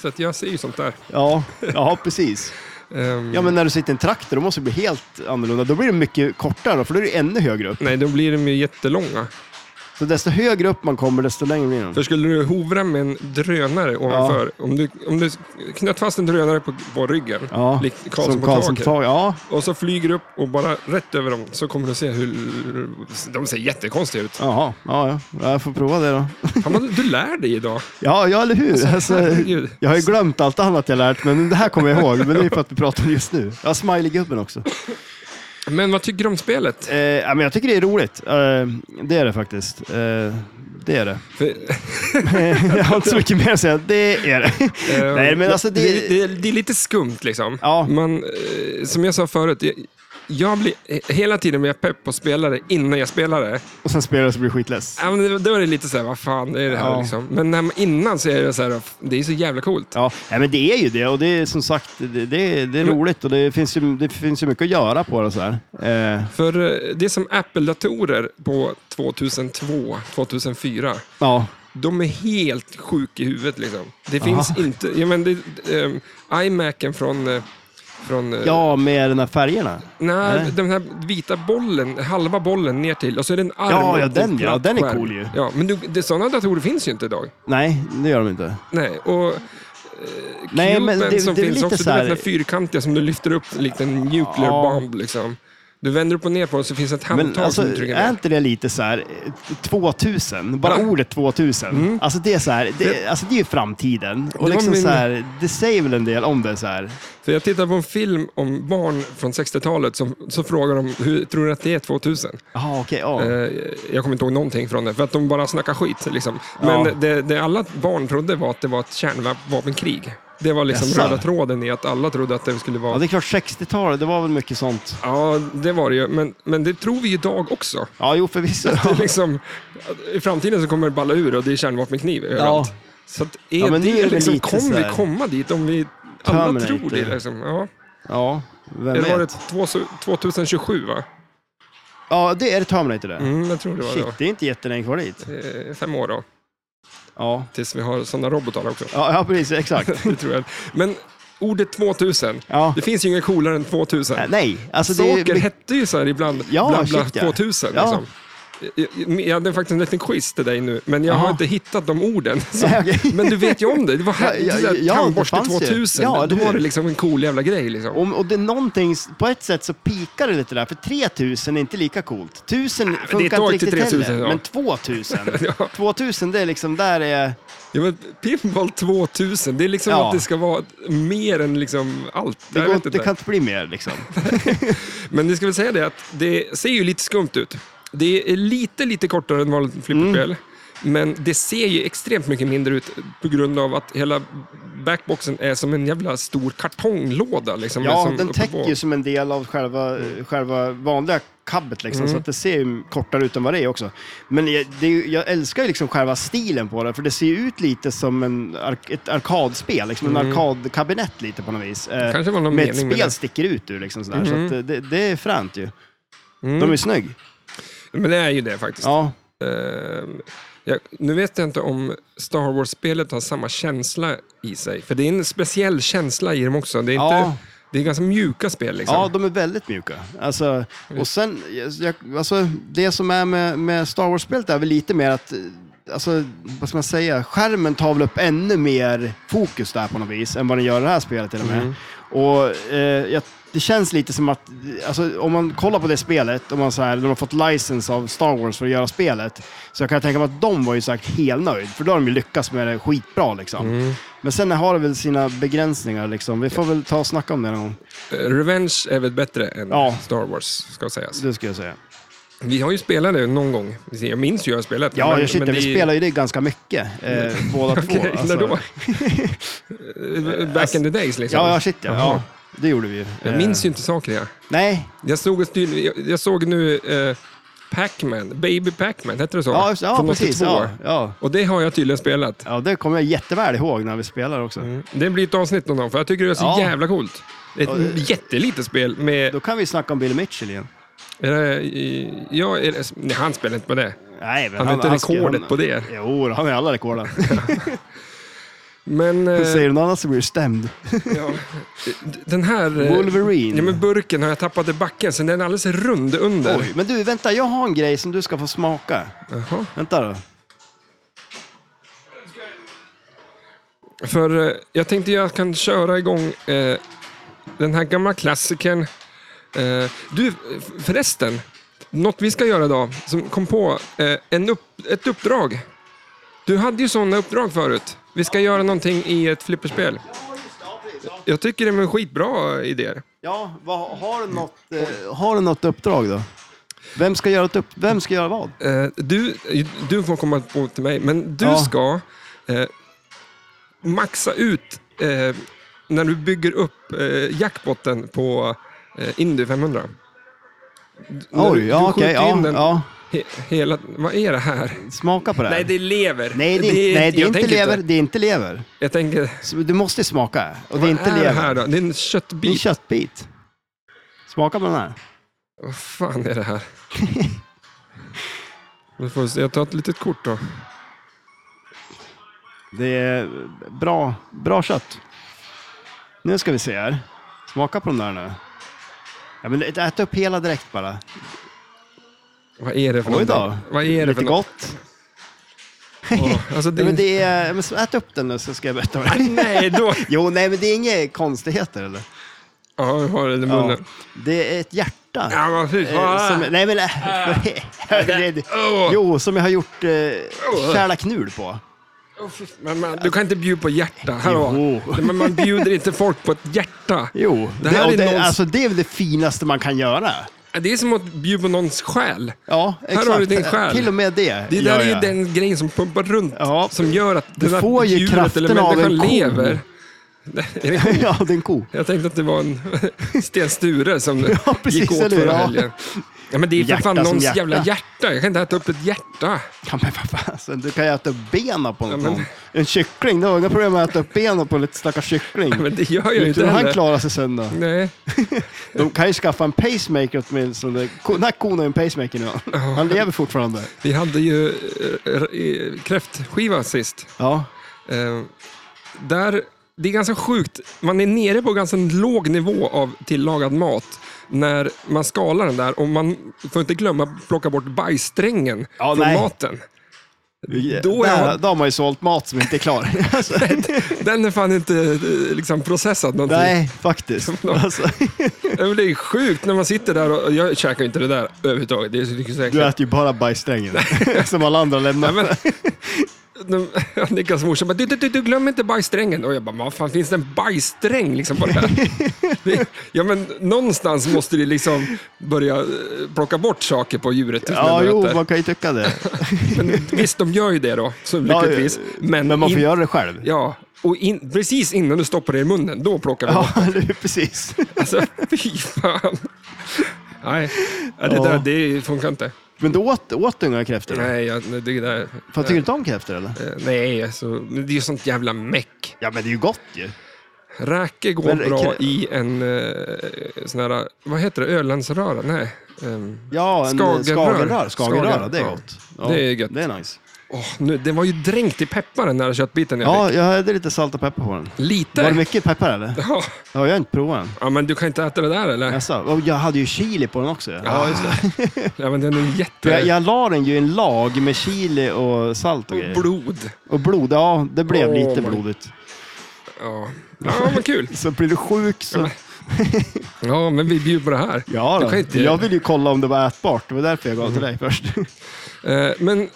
Så att jag ser ju sånt där. Ja, ja, precis. Ehm, Ja, men när du sitter i en traktor, då måste det bli helt annorlunda. Då blir det mycket kortare, för då är det ännu högre upp. Nej, då blir de ju jättelånga. Så desto högre upp man kommer, desto längre blir För de. skulle du hovra med en drönare ovanför, om, du, om du knöt fast en drönare på, på ryggen, Ja, likt Karlsson som på Karlsson på taket, taket. Ja, och så flyger du upp och bara rätt över dem, så kommer du se hur... De ser jättekonstiga ut. jaha. Ja, ja. Jag får prova det då. Fan, vad du lär dig idag. Ja, ja eller hur? Alltså, herregud. jag har ju glömt allt annat jag lärt men det här kommer jag ihåg. Men det är för att vi pratar om just nu. Ja, Smiley-gubben också. Men vad tycker du om spelet? Eh, ja, men jag tycker det är roligt. Eh, det är det faktiskt. Eh, det är det. För, jag har inte så mycket mer att säga. Det är det. ehm, Nej, men alltså det, det- det, det är lite skumt liksom. Ja. Man, eh, som jag sa förut, jag, jag blir eh, hela tiden mer pepp på spelare innan jag spelar det. Och sen spelar jag så blir jag skitless. Ja, men det- då är det lite så här, vad fan är det här Ja. liksom? Men när man, innan så är det så här, det är så jävla coolt. Ja, nej, men det är ju det och det är som sagt, det, det, det är roligt och det finns, ju, det finns ju mycket att göra på det så här. Eh, För eh, det är som Apple-datorer på 2002, 2004. ja, De är helt sjuka i huvudet liksom. Det finns Aha. inte, ja men det, ehm, iMacen från, eh, från eh, ja, med de här färgerna. nej, nej. den här vita bollen, halva bollen ner till och så är det en arm. Ja, och ja, en den, ja, platt den är skärm. cool ju. Ja, men du, det, sådana datorer finns ju inte idag. Nej, det gör de inte. Nej, och Nej, men det, som det är finns lite också, så du vet den här, fyrkantiga som du lyfter upp likt en nuclear Ja. bomb. Liksom. Du vänder upp och ner på det så finns ett Men handtag alltså, som du trycker är ner. inte det lite så här, eh, 2000, bara Ja. ordet 2000. Alltså det är så här, det, alltså det är ju framtiden. Mm. var Och liksom min- så här, det säger väl en del om det så här. För jag tittar på en film om barn från 60-talet som, så frågar de hur tror du att det är 2000? Jaha, okej, ja. Eh, jag kommer inte ihåg någonting från det, för att de bara snackar skit. Liksom. Men Ja. det, det alla barn trodde var att det var ett kärnvapenkrig. Det var liksom Jaså? röda tråden i att alla trodde att det skulle vara... Ja, det är klart 60-talet, det var väl mycket sånt. Ja, det var det ju. Men, men det tror vi idag också. Ja, jo förvisso. Det är liksom, I framtiden så kommer det balla ur och det är kärnvapenkniv överallt. Så att är Ja, men nu det, är det liksom, lite kommer vi sådär. komma dit om vi alla Terminator. tror det? Liksom. Ja. Ja, vem Eller var det vet. två, 2027? Va? Ja, det är det Terminator det. Mm, jag tror det var Shit, det är inte jättelänge kvar dit. det. Eh, Fem år då, Ja, tills vi har sådana robotar också. ja, ja precis, exakt. Det tror jag. Men ordet 2000, Ja. det finns ju inget coolare än 2000. Äh, Nej, alltså det Saker är... hette ju så här ibland, Ja, bla, bla, shit, ja. 2000. Ja. Liksom. Jag- Jag hade faktiskt en liten quiz till dig nu, men jag har Jaha. inte hittat de orden. Så, Nej, okej. men du vet ju om det. Det var här, Ja, ja, så här, ja, det tandborste fanns ju. 2000. Ja, Då eller var hur? det liksom en cool jävla grej. Liksom. Om, och det är någonting, på ett sätt så pikar det lite där, för 3000 är inte lika coolt. 1000 funkar det är ett tag inte riktigt till 3000, heller, ja. men 2000. Ja. 2000 det är liksom, där är... Ja, men pinball 2000, det är liksom Ja. att det ska vara mer än liksom allt. Det, Jag går, vet inte, det inte. kan inte bli mer liksom. Men vi ska väl säga det att det ser ju lite skumt ut. Det är lite, lite kortare än vanligt flipperspel. Mm. Men det ser ju extremt mycket mindre ut på grund av att hela backboxen är som en jävla stor kartonglåda. Liksom, Ja, som Mm. den uppe täcker på- ju som en del av själva, själva vanliga kabbet liksom, Mm. så att det ser ju kortare ut än vad det är också. Men jag, det är, ju- jag älskar ju liksom själva stilen på det, för det ser ju ut lite som en, ark- ett arkadspel, liksom en arkadkabinett lite på något vis. Eh, Mm. Kanske var någon med ett mening med spel det. Mm. sticker ut ur liksom sådär, så att eh, det, det är fränt ju. De är ju snygg. Men det är ju det faktiskt. Ja. Ehm, ja, nu vet jag inte om Star Wars-spelet har samma känsla i sig. För det är en speciell känsla i dem också. Det är, inte, Ja. det är ganska mjuka spel. Liksom. ja, de är väldigt mjuka. Alltså, och sen, jag, alltså, det som är med, med Star Wars-spelet är väl lite mer att, eh, alltså, vad ska man säga, skärmen tar väl upp ännu mer fokus där på något vis än vad den gör i det här spelet till och med. Och eh, jag, det känns lite som att, alltså, om man kollar på det spelet, om man så här, de har fått license av Star Wars för att göra spelet, så jag kan tänka mig att de var ju säkert helnöjd, för då har de ju lyckats med det skitbra liksom. Men sen har det väl sina begränsningar liksom. Vi får väl ta och snacka om det någon gång. Revenge är väl bättre än Ja. Star Wars, ska sägas. Det ska jag säga. Vi har ju spelat det någon gång. Jag minns ju hur jag spelat det, Ja, men- jag shit, men det vi är- Mm. spelar ju det ganska mycket, eh, båda två. alltså. Okej, när då? Back in the days liksom. Ja, ja, shit ja. Jaha. ja. Det gjorde vi ju. Jag Eh, minns ju inte saker jag. Nej. Jag såg, ett styr, jag, jag såg nu eh, Pac-Man, Baby Pac-Man, hette det så? Ja, just, ja Från precis. 82. Ja, ja. Och det har jag tydligen spelat. ja, det kommer jag jätteväl ihåg när vi spelade också. Det blir ett avsnitt någon dag, för jag tycker det är så Ja. jävla coolt. Ett Ja, det- jättelitet spel med... Då kan vi snacka om Billy Mitchell igen. är det, i- ja, är det, nej, han spelar inte på det. Nej, men Han har inte ska- rekordet på det. Jo, han har alla rekorden. Men... eh, Säger du något annat så blir du stämd. Ja. Den här... eh, Wolverine. Ja, men burken har jag tappat i backen, så den är alldeles rund under. Oj, men du, vänta, jag har en grej som du ska få smaka. Jaha. Vänta då. För eh, jag tänkte jag kan köra igång eh, den här gamla klassikern. Eh, du, f- förresten. Något vi ska göra idag, som kom på, eh, en upp, ett uppdrag. Du hade ju sådana uppdrag förut. Vi ska göra någonting i ett flipperspel. Jag tycker det är en skitbra idé. Ja, vad, har, du något, eh, har du något uppdrag då? Vem ska göra, ett upp, vem ska göra vad? Eh, du, du får komma på till mig, men du Ja. ska eh, maxa ut eh, när du bygger upp eh, jackpotten på eh, Indy 500. D- när Oj, du- ja, du skjuter okej. ja, in den ja, he, hela, vad är det här? smaka på det här. Nej, det är lever. Nej, det är, inte- nej, det är jag inte tänker lever. Det är inte lever. Jag tänker, Så du måste smaka. Och det vad är är, inte det lever. här då? Det är Det en är en köttbit. köttbit. Smaka på den här. Vad fan är det här? Nu får vi se. Jag tar ett litet kort då. Det är bra, bra kött. Nu ska vi se här. Smaka på den där nu. Ja, men ät upp hela direkt bara. Vad är det för Oj då. någonting? Vad är det Lite för något? gott. Åh, Alltså, det Ja, är... men det är, men så ät upp den nu så ska jag berätta vad det är. Nej, då... Jo, nej, men det är inga konstigheter eller? Ja, jag har det i Ja. munnen. Det är ett hjärta. hjärta. Ja, men fy Eh, fan. Som, nej men, det, Ah. Åh. jo, som jag har gjort eh, käla knul på. Åh, fy- Men man, du kan inte bjuda på hjärta. Hallå. Jo. Nej, Men man bjuder inte folk på ett hjärta. Jo, Det, här det, alltså- är och det, någons, alltså, det är väl det finaste man kan göra. det är som att bjuda på någons själ. Ja, har exakt. du din själ. Till och med det. Det där gör är ju jag. den grejen som pumpar runt, Ja. som gör att Du det där får ju djuret eller kraften av människan en ko. lever. Är det ko? ja, den ko. Jag tänkte att det var en Sten Sture som Ja, precis, gick åt eller hur? förra Ja. helgen. Ja, men det är för Hjärta fan som någons hjärta. jävla hjärta. Jag kan inte äta upp ett hjärta. Ja, men vad fan, alltså, du kan ju äta upp benen på Ja, någon. men- En kyckling, det var inga problem att äta upp benen på lite stackars kyckling. Men det gör jag ju Inte inte hur han heller. klarar sig sen då. Nej. De kan ju skaffa en pacemaker åtminstone. Ko- Den här kon har ju en pacemaker nu. Han lever fortfarande. Vi hade ju eh, r- eh, kräftskiva sist. Ja, Eh, Där, det är ganska sjukt. Man är nere på ganska en låg nivå av tillagad mat när man skalar den där. Och man får inte glömma att plocka bort bajssträngen Ja, från nej. maten. Då då, är där, han- då har man ju sålt mat som inte är klar. Alltså, Den är fan inte eh, liksom, processad någonting. nej, faktiskt. Alltså, Ja, men Det är sjukt när man sitter där och och jag käkar ju inte det där överhuvudtaget. Det är så mycket du säkert. äter ju bara bajssträngen som alla andra lämnar. Nej, men, de, Niklas morsa bara, du, du, du, du glöm inte bajssträngen. Och jag bara, vad fan finns det en bajssträng liksom på det här? Det, ja men någonstans måste du liksom börja eh, plocka bort saker på djuret. när ja, du jo, äter. man kan ju tycka det. men, visst, de gör ju det då, så Ja, eh, lyckligtvis. Men, Men man får in, göra det själv. Ja, och in, precis innan du stoppar det i munnen, då plockar vi bort Ja, det är precis. Alltså, fy fan. Nej, ja, det Ja. där det funkar inte. Men du åt, åt du inga kräftor? då? Nej, jag, det där, Fan, tycker du inte om kräftor eller? eh, nej alltså, men det är ju sånt jävla meck. Ja, men det är ju gott ju. Räkor går Men det- bra kan- i en eh, sån här, vad heter det, Ölandsröra? Nej. ehm, Ja, en Skagenrör. skagenrör. Skagenrör, Skagen, det är ja. gott. Det är gött. Det är nice. åh, nu, den var ju dränkt i peppar den där köttbiten jag Ja, fick. jag hade lite salt och peppar på den. Lite. Var det mycket peppar eller? Ja. Ja, jag har inte provat den. ja, men du kan inte äta det där eller? Jaså? Och Jag hade ju chili på den också. Ja, just det. ja, men den är jätte... För jag, jag la den ju i en lag med chili och salt och Och grejer. blod. Och blod, ja det blev Åh, lite my- blodigt. Ja, ja men kul. Så blir du sjuk så... Ja, men vi bjuder på det här. Ja, Du då. kan inte- Mm. jag ville ju kolla om det var ätbart. Det var därför jag gav till dig först. Eh, Men eh,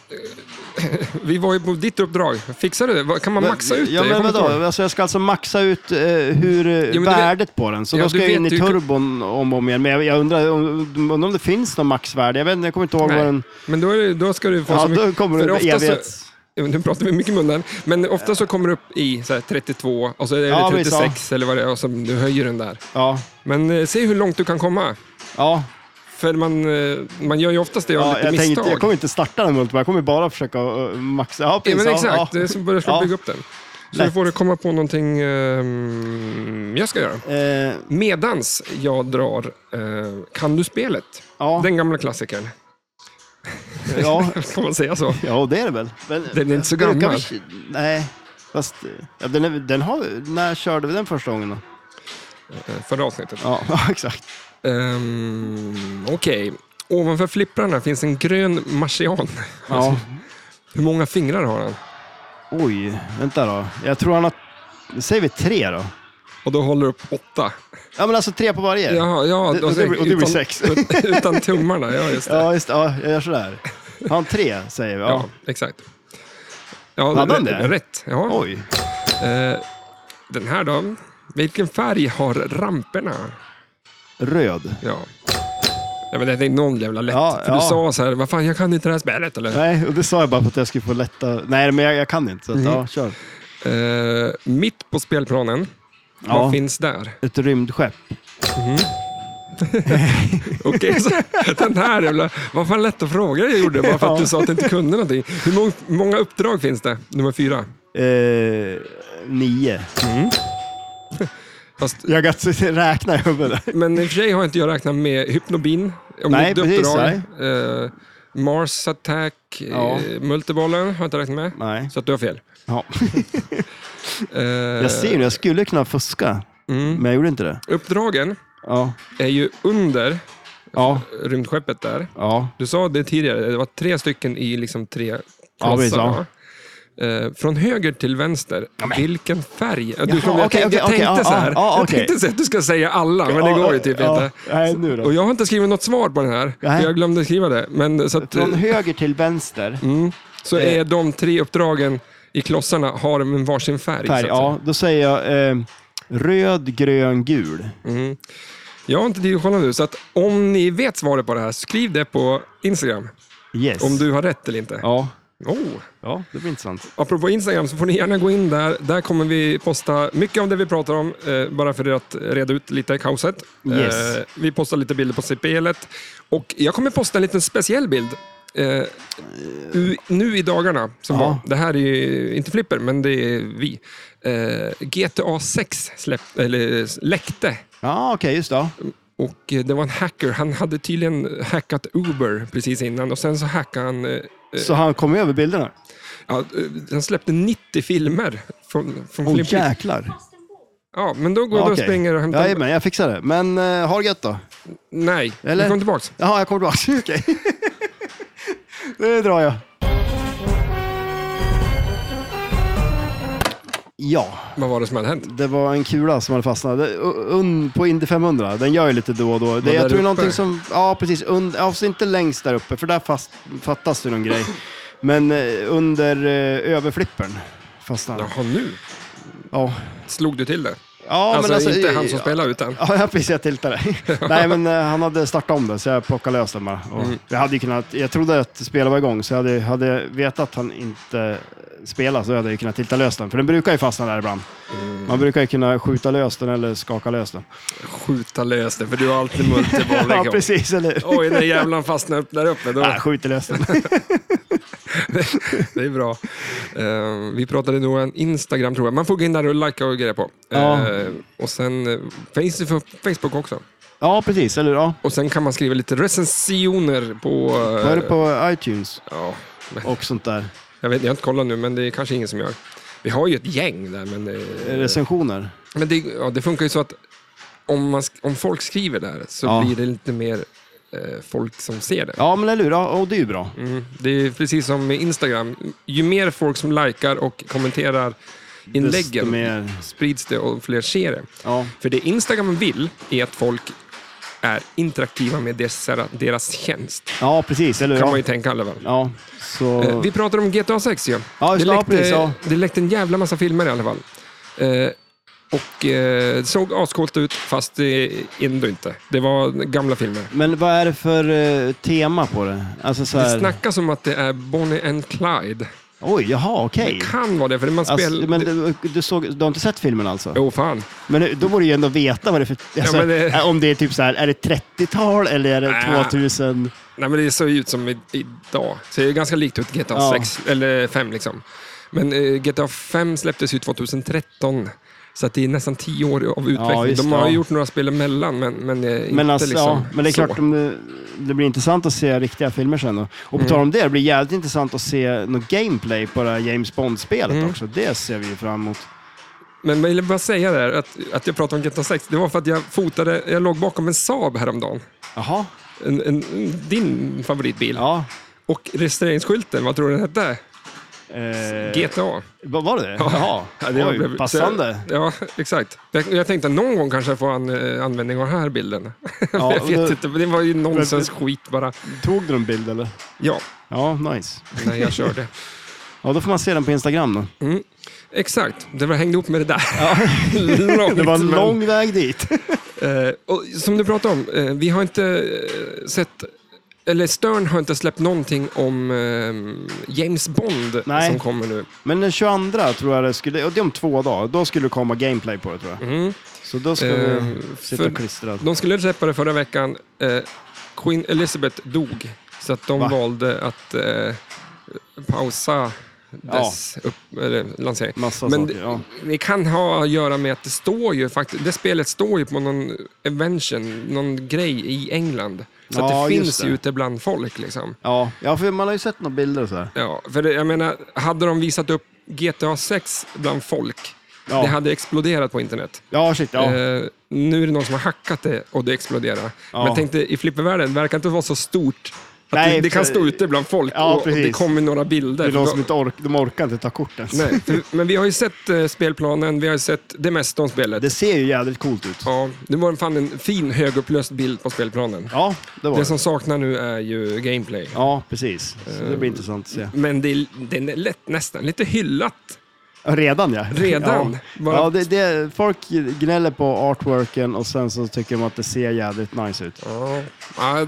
vi var ju på ditt uppdrag. Fixar du det? Vad- Kan man maxa ut det? ja, Jag men kommer inte ihåg. vadå? Alltså, jag ska alltså maxa ut eh, hur eh, du vet- värdet på den. Så Ja, då ska du jag in vet i ju- turbon om och om igen. Men jag, jag undrar om, undrar om det finns någon maxvärde. Jag, vet, inte, jag kommer inte ihåg Nej. vad den... Men då, är det, då ska du få Ja, så mycket. då kommer för det ofta så- evighets... Ja, men Nu pratar vi mycket i munnen. Men ofta så kommer det upp i så här 32 och så är det Ja, visst, 36 eller vad det är och så du höjer den där. Ja, Men eh, se hur långt du kan komma. ja, För man, eh, man gör ju oftast det av ja lite jag, misstag. tänkte, jag kommer inte starta den multiplayer. Jag kommer bara försöka eh, maxa. Ja, ja, precis. men Ja, exakt, ja. det är som börjar Ja. bygga upp den. Så Lätt. då får du komma på någonting ehm, jag ska göra. Eh, Medans jag drar eh, Kan du spelet? ja, Den gamla klassikern. ja, Får man säga så? ja, det är det väl. Men, Den är inte så brukar gammal. vi- nej, fast eh, ja, den, är, den har, när körde vi den första gången då? Eh, Förra avsnittet. Ja, ja exakt. Ehm, Okej. Ovanför flipprarna finns en grön marsian. Ja. Hur många fingrar har han? Oj, vänta då. Jag tror han har... Säger vi tre då? Och då håller du upp åtta. Ja, men alltså tre på varje. Ja, ja, Det- och det blir- och det blir utan, sex. utan tummarna, ja just det. Ja, Ja, just det. Ja, jag gör sådär. Han tre, säger vi. Ja. exakt. Ja, Hade han rätt- det? Rätt. Ja. Oj. Eh, den här då? Vilken färg har ramperna? Röd. Ja. ja men det är någon jävla lätt. Ja, För du ja. sa så här, vad fan jag kan inte det här spelet eller? Nej, och det sa jag bara för att jag skulle få lätta... Nej, men jag, jag kan inte. Så att, Mm. ja, kör. Eh, mitt på spelplanen, vad Ja, finns där? ett rymdskepp. Okej, så den här jävla... Vad fan lätta frågor jag gjorde bara för att du sa att du inte kunde någonting. Hur mång- många uppdrag finns det? Nummer fyra. Eh, nio. Fast, Jag kan inte räkna i huvudet. men i och för sig har inte jag räknat med Hypnobin, om Nej, mitt precis, uppdrag. Eh, Mars Attack, Ja. eh, Multibollen har jag inte räknat med. Nej. Så att du har fel. Ja. Eh, Jag ser nu, jag skulle kunna fuska, Mm. men jag gjorde inte det. Uppdragen Ja, är ju under ja, rymdskeppet där. ja. Du sa det tidigare, det var tre stycken i liksom tre Ja, klassar. precis, ja. va? eh, från höger till vänster, vilken färg? Ja, Du, Jaha, kommer- jag okej, tänkte, jag okej, tänkte okej, så här. ja, ja, jag okej. tänkte så att du ska säga alla, men det Ja, går ju typ ja. inte. Nej, nu då. Och jag har inte skrivit något svar på den här, för Nej. jag glömde skriva det. Men, så att, Från höger till vänster. mm, så Eh. är de tre uppdragen i klossarna har en varsin Färg, färg. så att säga. ja, då säger jag eh, röd, grön, gul. Jag har inte tid att kolla nu, så att om ni vet svaret på det här, skriv det på Instagram. Yes. Om du har rätt eller inte. Ja. Oh. ja, det blir intressant. Apropå Instagram så får ni gärna gå in där. Där kommer vi posta mycket av det vi pratar om, eh, bara för att reda ut lite kaoset. Yes. Eh, vi postar lite bilder på spelet och jag kommer posta en liten speciell bild. Eh, u- nu i dagarna som Ja. var. Det här är ju inte Flipper, men det är vi. Eh, GTA 6 släpp, eller, eh, läckte Ja, okej, just det. ja. och eh, det var en hacker. Han hade tydligen hackat Uber precis innan och sen så hackade han eh, Så han kom över bilderna? Ja, eh, han släppte 90 filmer från, från Åh, Flim Flim. jäklar. Ja, men då går du och Okej. springer och hämtar... Jajamän, jag fixar det. Men eh, har det gött då. Nej, Eller? Eller? kom tillbaks. Jaha, jag kommer tillbaka. Okej. nu drar jag. Ja, Vad var det som hade hänt? det var en kula som hade fastnat Det- u- un, på Indy 500. Den gör ju lite då och då. Det, där jag tror uppe? det är någonting som... Ja, precis. Und, alltså inte längst där uppe, för där fast, fattas det någon grej. Men eh, under eh, överflippern fastnade den. Jaha, nu Ja. slog du till det. Ja, alltså, men alltså inte han som spelar utan... Ja, jag precis. Jag tiltade. Nej, men eh, han hade startat om det, så jag plockade lös den bara. Och Mm. jag, hade ju kunnat, jag trodde att spelet var igång, så jag hade, hade jag vetat att han inte spelade så hade jag kunnat tilta lös den. För den brukar ju fastna där ibland. Mm. Man brukar ju kunna skjuta lös den eller skaka lös den. Skjuta lös det, för du har alltid multiboll. Ja, liksom. precis. Eller hur? Oj, när jävlan fastnar upp där uppe. Då, Nej, skjuter lös den. det är bra. Eh, vi pratade nog om Instagram, tror jag. Man får gå in där och likea och grejer på. Ja. Eh, och sen eh, finns det på Facebook också. Ja, precis. Eller ja. Och sen kan man skriva lite recensioner på... eh, Vad är det på iTunes Ja, men- och sånt där? Jag, vet, jag har inte kollat nu, men det är kanske ingen som gör. Vi har ju ett gäng där, men, eh, Recensioner? men det, ja, det funkar ju så att om, man, sk- om folk skriver där så Ja. blir det lite mer eh, folk som ser det. Ja, men eller hur? Ja, och det är ju bra. Mm. Det är precis som med Instagram. Ju mer folk som likar och kommenterar Desto inläggen mer... sprids det och fler ser det. Ja. För det Instagram vill är att folk är interaktiva med deras, deras tjänst. ja, precis. Eller hur? Kan man Ja. ju tänka i alla fall. ja, så... Eh, Vi pratar om GTA 6 ju. Ja, just det, det, ja, läckte, precis, ja. det läckte en jävla massa filmer i alla fall. Eh, och eh, det såg ascoolt ut, fast det ändå inte. Det var gamla filmer. Men vad är det för eh, tema på det? Alltså så Det här... snackas om att det är Bonnie and Clyde. Oj, jaha, okej. Det kan vara det, för man spelar... Alltså, men du, du, såg, du har inte sett filmen alltså? Jo, fan. Men då borde du ju ändå veta vad det är för... Alltså, men det- eh, Om det är typ så här, är det 30-tal eller är det Äh. 2000? Nej, men det såg ju ut som i, idag. Så det är ganska likt ut GTA Ja. 6, eller 5 liksom. Men eh, GTA 5 släpptes ju 2013. Så att det är nästan tio år av utveckling. just De det, har ja. ju gjort några spel emellan, men, men, eh, inte Men, alltså, liksom ja, men det är så. klart, om det, det blir intressant att se riktiga filmer sen. Då. Och på Mm. tal om det, det blir jävligt intressant att se något gameplay på det här James Bond-spelet Mm. också. Det ser vi ju fram emot. Men jag ville bara säga där att, att jag pratade om GTA 6. Det var för att jag fotade, jag låg bakom en Saab häromdagen. Jaha, En, en, en- din favoritbil. ja. Och registreringsskylten, vad tror du den hette? Eh, GTA. vad var det? Ja. Jaha, Ja, det Oj, blev- passande. Så, ja, exakt. Jag, jag tänkte att någon gång kanske jag får an, eh, användning av den här bilden. Ja, jag vet men- inte, men det var ju nonsens skit bara. Tog du en bild eller? Ja, Ja, nice. när jag körde. Ja, då får man se den på Instagram då. Exakt, det var hängde ihop med det där. Långt, Det var en men- lång väg dit. Eh, och som du pratade om, eh, vi har inte eh, sett, eller Stern har inte släppt någonting om eh, James Bond Nej. som kommer nu. Men den 22 tror jag det skulle, och det är om två dagar, då skulle det komma gameplay på det tror jag. Mm. Så då ska Eh, vi sitta för- och klistra. De skulle släppa det förra veckan. Eh, Queen Elizabeth dog, så att de Va? valde att eh, pausa dess upp, eller, lansering. Massa Men saker. Ja. det, det kan ha att göra med att det står ju faktiskt, det spelet står ju på någon evention, någon grej i England. Så Ja, att det just finns det. ju ute bland folk liksom. Ja. ja, för man har ju sett några bilder och så här. Ja, för det, jag menar, hade de visat upp GTA 6 bland folk, Ja. det hade exploderat på internet. Ja, shit. Ja. Eh, nu är det någon som har hackat det och det exploderar. Men jag tänkte, i flippervärlden verkar inte vara så stort det, det kan stå ute bland folk Ja, och, och det precis. kommer några bilder. Det är För de då- som inte orkar, de orkar inte ta kort ens. Nej, för, men vi har ju sett eh, spelplanen, vi har ju sett det mesta om spelet. Det ser ju jädrigt coolt ut. Ja, det var fan en fin högupplöst bild på spelplanen. Ja, det var Det det. som saknar nu är ju gameplay. Ja, precis. Så Eh, det blir intressant att se. Men det, den är lätt, nästan lite hyllat Ja, Redan ja. redan. Ja. Bara- Ja, det, det, folk gnäller på artworken och sen så tycker de att det ser jädrigt nice ut. Ja, ja,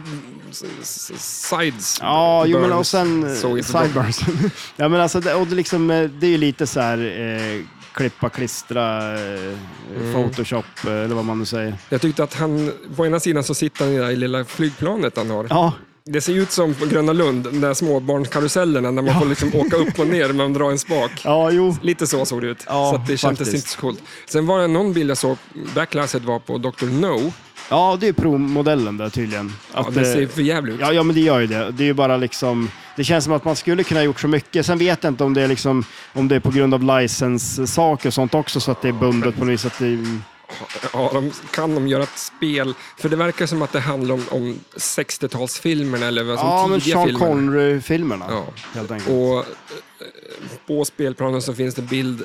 s- s- sides. Ja, jo, men burns och sen såg inte bra. sideburns. ja, men alltså, det, och det, liksom, eh, det är ju lite så här eh, klippa, klistra, eh, Mm. photoshop eh, eller vad man nu säger. Jag tyckte att han, på ena sidan så sitter han i det där lilla flygplanet han har. Ja, Det ser ut som på Gröna Lund, de där småbarnskarusellerna när man får liksom åka upp och ner, man drar en spak. ja jo. Lite så såg det ut, Ja, så att det kändes faktiskt. inte så coolt. Sen var det någon bild jag såg, backlasset var på Dr. No. Ja, det är provmodellen där tydligen. Ja, Att, det eh, ser för jävligt ut. Ja, ja, men det gör ju det. Det är ju bara liksom... Det känns som att man skulle kunna ha gjort så mycket. Sen vet jag inte om det är, liksom, om det är på grund av licenssaker och sånt också, så att det är bundet på något vis. Att det, Ja, de, kan de göra ett spel? För det verkar som att det handlar om, om 60-talsfilmerna eller vad som ja, men tidiga Sean filmer. Connery-filmerna, Ja. helt enkelt. Och eh, på spelplanen så finns det bild,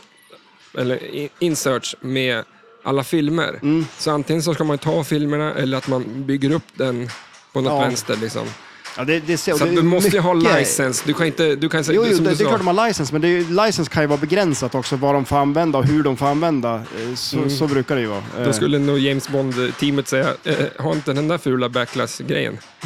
eller i- inserts med alla filmer. Mm. Så antingen så ska man ta filmerna eller att man bygger upp den på något Ja. vänster. Liksom. ja, det, det ser, Så det att är du måste ju ha mycket- licens. Du kan inte... Du kan, Jo, jo som det, du det är sa. klart de har licens, men det är, ju- license kan ju vara begränsat också, vad de får använda och hur de får använda. Eh, Så, så brukar det ju vara. Eh, Mm. Då skulle nog James Bond-teamet säga, eh, ha inte den där fula backlash-grejen.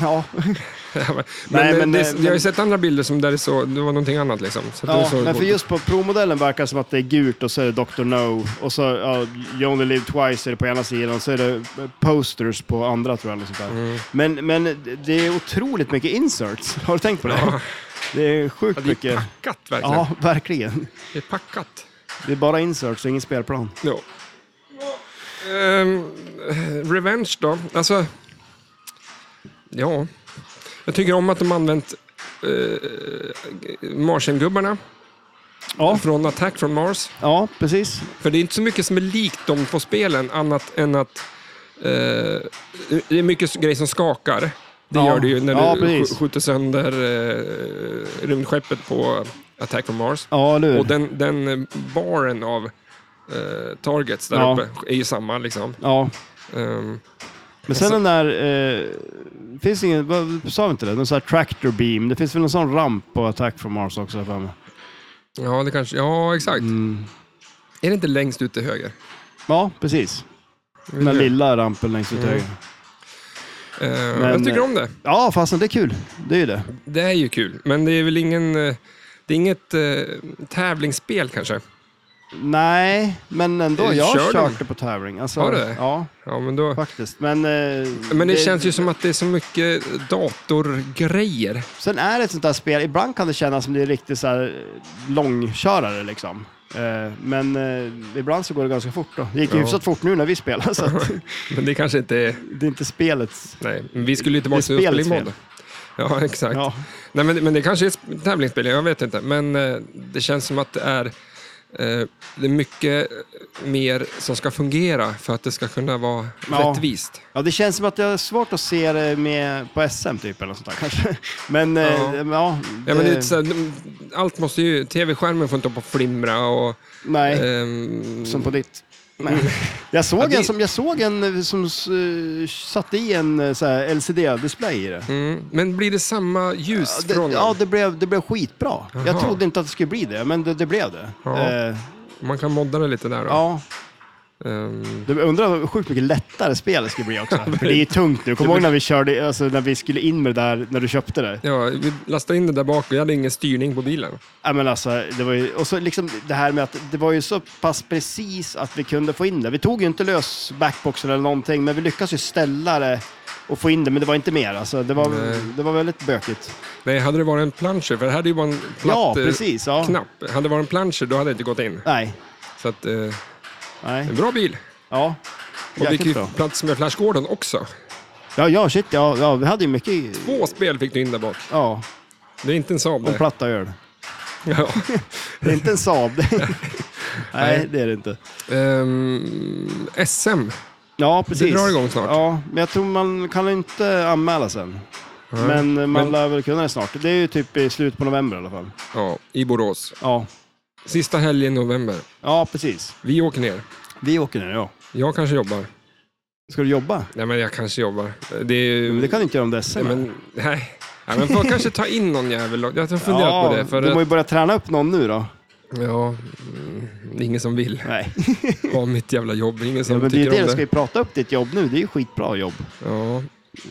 Ja, men Nej, eh, men, det, eh, jag har ju men- sett andra bilder som där det, så, det var någonting annat. Liksom. Så att det ja såg men coolt för ut. just på provmodellen verkar det som att det är gult och så är det Dr. No och så ja, You Only Live Twice är det på ena sidan och så är det eh, posters på andra tror jag. Eller sånt där. Mm. Men, men det är otroligt mycket inserts, har du tänkt på det? Det är sjukt Ja, det är mycket. packat verkligen. Ja, verkligen. Det är packat. Det är bara inserts och ingen spelplan. Ja. Ehm, revenge då? Alltså... Ja. Jag tycker om att de använt uh, Martian-gubbarna Ja, från Attack from Mars. ja precis. För det är inte så mycket som är likt dem på spelen annat än att eh, det är mycket grejer som skakar. Det Ja. gör det ju när Ja, du precis. sk- skjuter sönder eh, rymdskeppet på Attack from Mars. Ja, eller hur? Och den, den baren av eh, targets där Ja. uppe är ju samma. Liksom. Ja, Ehm, Men sen den där, eh, finns det ingen, vad, sa vi inte det? Någon sån här tractor beam, det finns väl någon sån ramp på Attack from Mars också? har jag för mig. ja, det kanske... Ja, exakt. Mm. Är det inte längst ut till höger? Ja, precis. Den där Eller hur? lilla rampen längst ut till höger. Ehm, Men, jag tycker eh, om det. Ja, fasen det är kul. Det är ju det. Det är ju kul, men det är väl ingen... eh, Det är inget eh, tävlingsspel kanske. Nej, men ändå. Eh, Jag kör har den. kört det på tävling. Alltså, Har du det? Ja, Ja, men då... faktiskt. Men, eh, Men det, känns ju som att det är så mycket datorgrejer. Sen är det ett sånt där spel, ibland kan det kännas som det är riktigt så här eh, långkörare liksom. Eh, men eh, ibland så går det ganska fort då. Det gick ju Ja. hyfsat fort nu när vi spelade, så att Men det kanske inte är... det är inte spelets... Nej, men vi skulle ju Det är tillbaka till spelets spelmod. Ja, exakt. Ja. Nej, men, men det kanske är ett tävlingsspel, jag vet inte. Men eh, det känns som att det är, eh, det är mycket mer som ska fungera för att det ska kunna vara Ja. rättvist. Ja, det känns som att jag har svårt att se det med på SM typ eller något sånt där kanske. Men eh, Ja. ja, ja, Ja, men det är det- så här, de- allt måste ju... Tv-skärmen får inte på flimra och... nej, ehm, som på ditt. Nej. Jag såg mm. Ja, det- en som, jag såg en eh, som eh, satte i en eh, så här LCD-display i det. mm, men blir det samma ljus Ja, från det, ja, det blev, det blev skitbra. Jaha. Jag trodde inte att det skulle bli det, men det, det blev det. Ja. Eh, Man kan modda det lite där då. ja. Ehm, Jag undrar hur sjukt mycket lättare spel det skulle bli också. För det är ju tungt nu. Kommer du ihåg när vi, körde, alltså, när vi skulle in med det där, när du köpte det? Ja, vi lastade in det där bak och jag hade ingen styrning på bilen. Ja, men alltså, det var ju, och så liksom det här med att det var ju så pass precis att vi kunde få in det. Vi tog ju inte lös backboxen eller någonting, men vi lyckades ju ställa det och få in det, men det var inte mer. Alltså, det, var, Nej. det var väldigt bökigt. Nej, hade det varit en planscher, för det här är ju bara en platt Ja, eh, precis. Ja. knapp. Hade det varit en planscher, då hade det inte gått in. Nej, Så att, eh, nej, en bra bil. ja. Och det Jäkligt fick ju bra. plats med Flash Gordon också. Ja, ja, shit, ja, ja, vi hade ju mycket... Två spel fick du in där bak. Ja, Det är inte en Saab om det. platta öl. Ja. Det är inte en Saab. det- nej, det är det inte. Ehm, SM. Ja, precis. Det drar igång snart. Ja, men jag tror man kan inte anmäla sen. Nej. Men eh, man Men- lär väl kunna det snart. Det är ju typ i slutet på november i alla fall. Ja, i Borås. Ja, Sista helgen i november. ja precis. Vi åker ner. Vi åker nu, ja. Jag kanske jobbar. Ska du jobba? Nej, men jag kanske jobbar. Det är ju... Men det kan du inte göra om det är Nej, SM. men, nej. Ja, men får kanske ta in någon jävel. Jag har funderat ja, på det. För du att, må ju börja träna upp någon nu då. ja, mm, det är ingen som vill Nej, ha mitt jävla jobb. Det är ingen ja, som men det är ju tycker det. Du om ska det. ju prata upp ditt jobb nu. Det är ju skitbra jobb. Ja.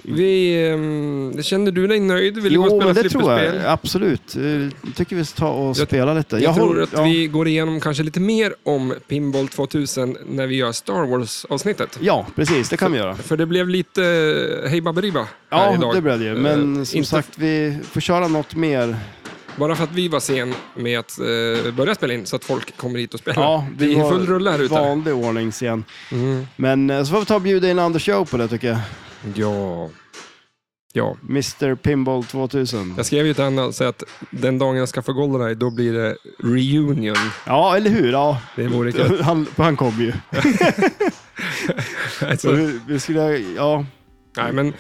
Vi, ehm, kände du dig nöjd? Vill du gå jo, och men spela det tror flipperspel? jag. Absolut. Eh, tycker vi ska ta och Jag- spela lite. Jag, tror håller- att ja. vi går igenom kanske lite mer om Pinball 2000 när vi gör Star Wars-avsnittet. Ja, precis. Det kan vi göra. För det blev lite eh, hej baberiba här Ja, idag. det blev det ju. Eh, Men som inte- sagt, vi får köra något mer. Bara för att vi var sen med att eh, börja spela in så att folk kommer hit och spelar. Ja, det är full rulle här ute. vanlig ordning sen. Mm. Men eh, så får vi ta och bjuda in Anders Show på det tycker jag. Ja. Ja. Mr Pinball 2000. Jag skrev ju till Anna och sa att den dagen jag skaffar Goldeneye, då blir det reunion. Ja, eller hur? Ja. Det vore kul. Han, han kom ju. Så Alltså, vi, vi skulle, ja. nej, men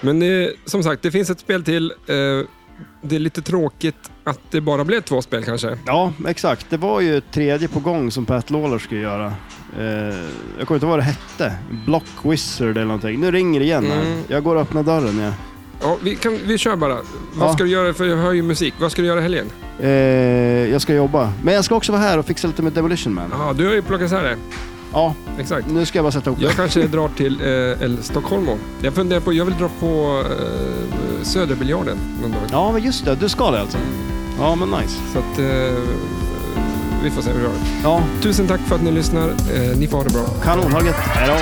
men det, som sagt, det finns ett spel till. Eh, det är lite tråkigt att det bara blev två spel kanske. ja, exakt. Det var ju ett tredje på gång som Pat Lawler skulle göra. Eh, jag kommer inte ihåg vad det hette. Block Wizard eller någonting. Nu ringer det igen här. Mm. Jag går och öppnar dörren. Ja. Ja, vi, kan, vi kör bara. Vad Ja. ska du göra? För jag hör ju musik. Vad ska du göra i helgen? Eh, jag ska jobba. Men jag ska också vara här och fixa lite med Demolition Man. Ja, du har ju plockat isär det. Ja, Exakt. nu ska jag bara sätta ihop Jag det. kanske drar till eh, El Stockholmo. Jag funderar på, jag vill dra på eh, Söderbiljarden någon dag. Ja, men just det. Du ska det alltså? Ja, men nice. Så att eh, vi får se hur det går. Ja, Tusen tack för att ni lyssnar. Eh, ni får ha det bra. kanon. Ha det gött. Hej då.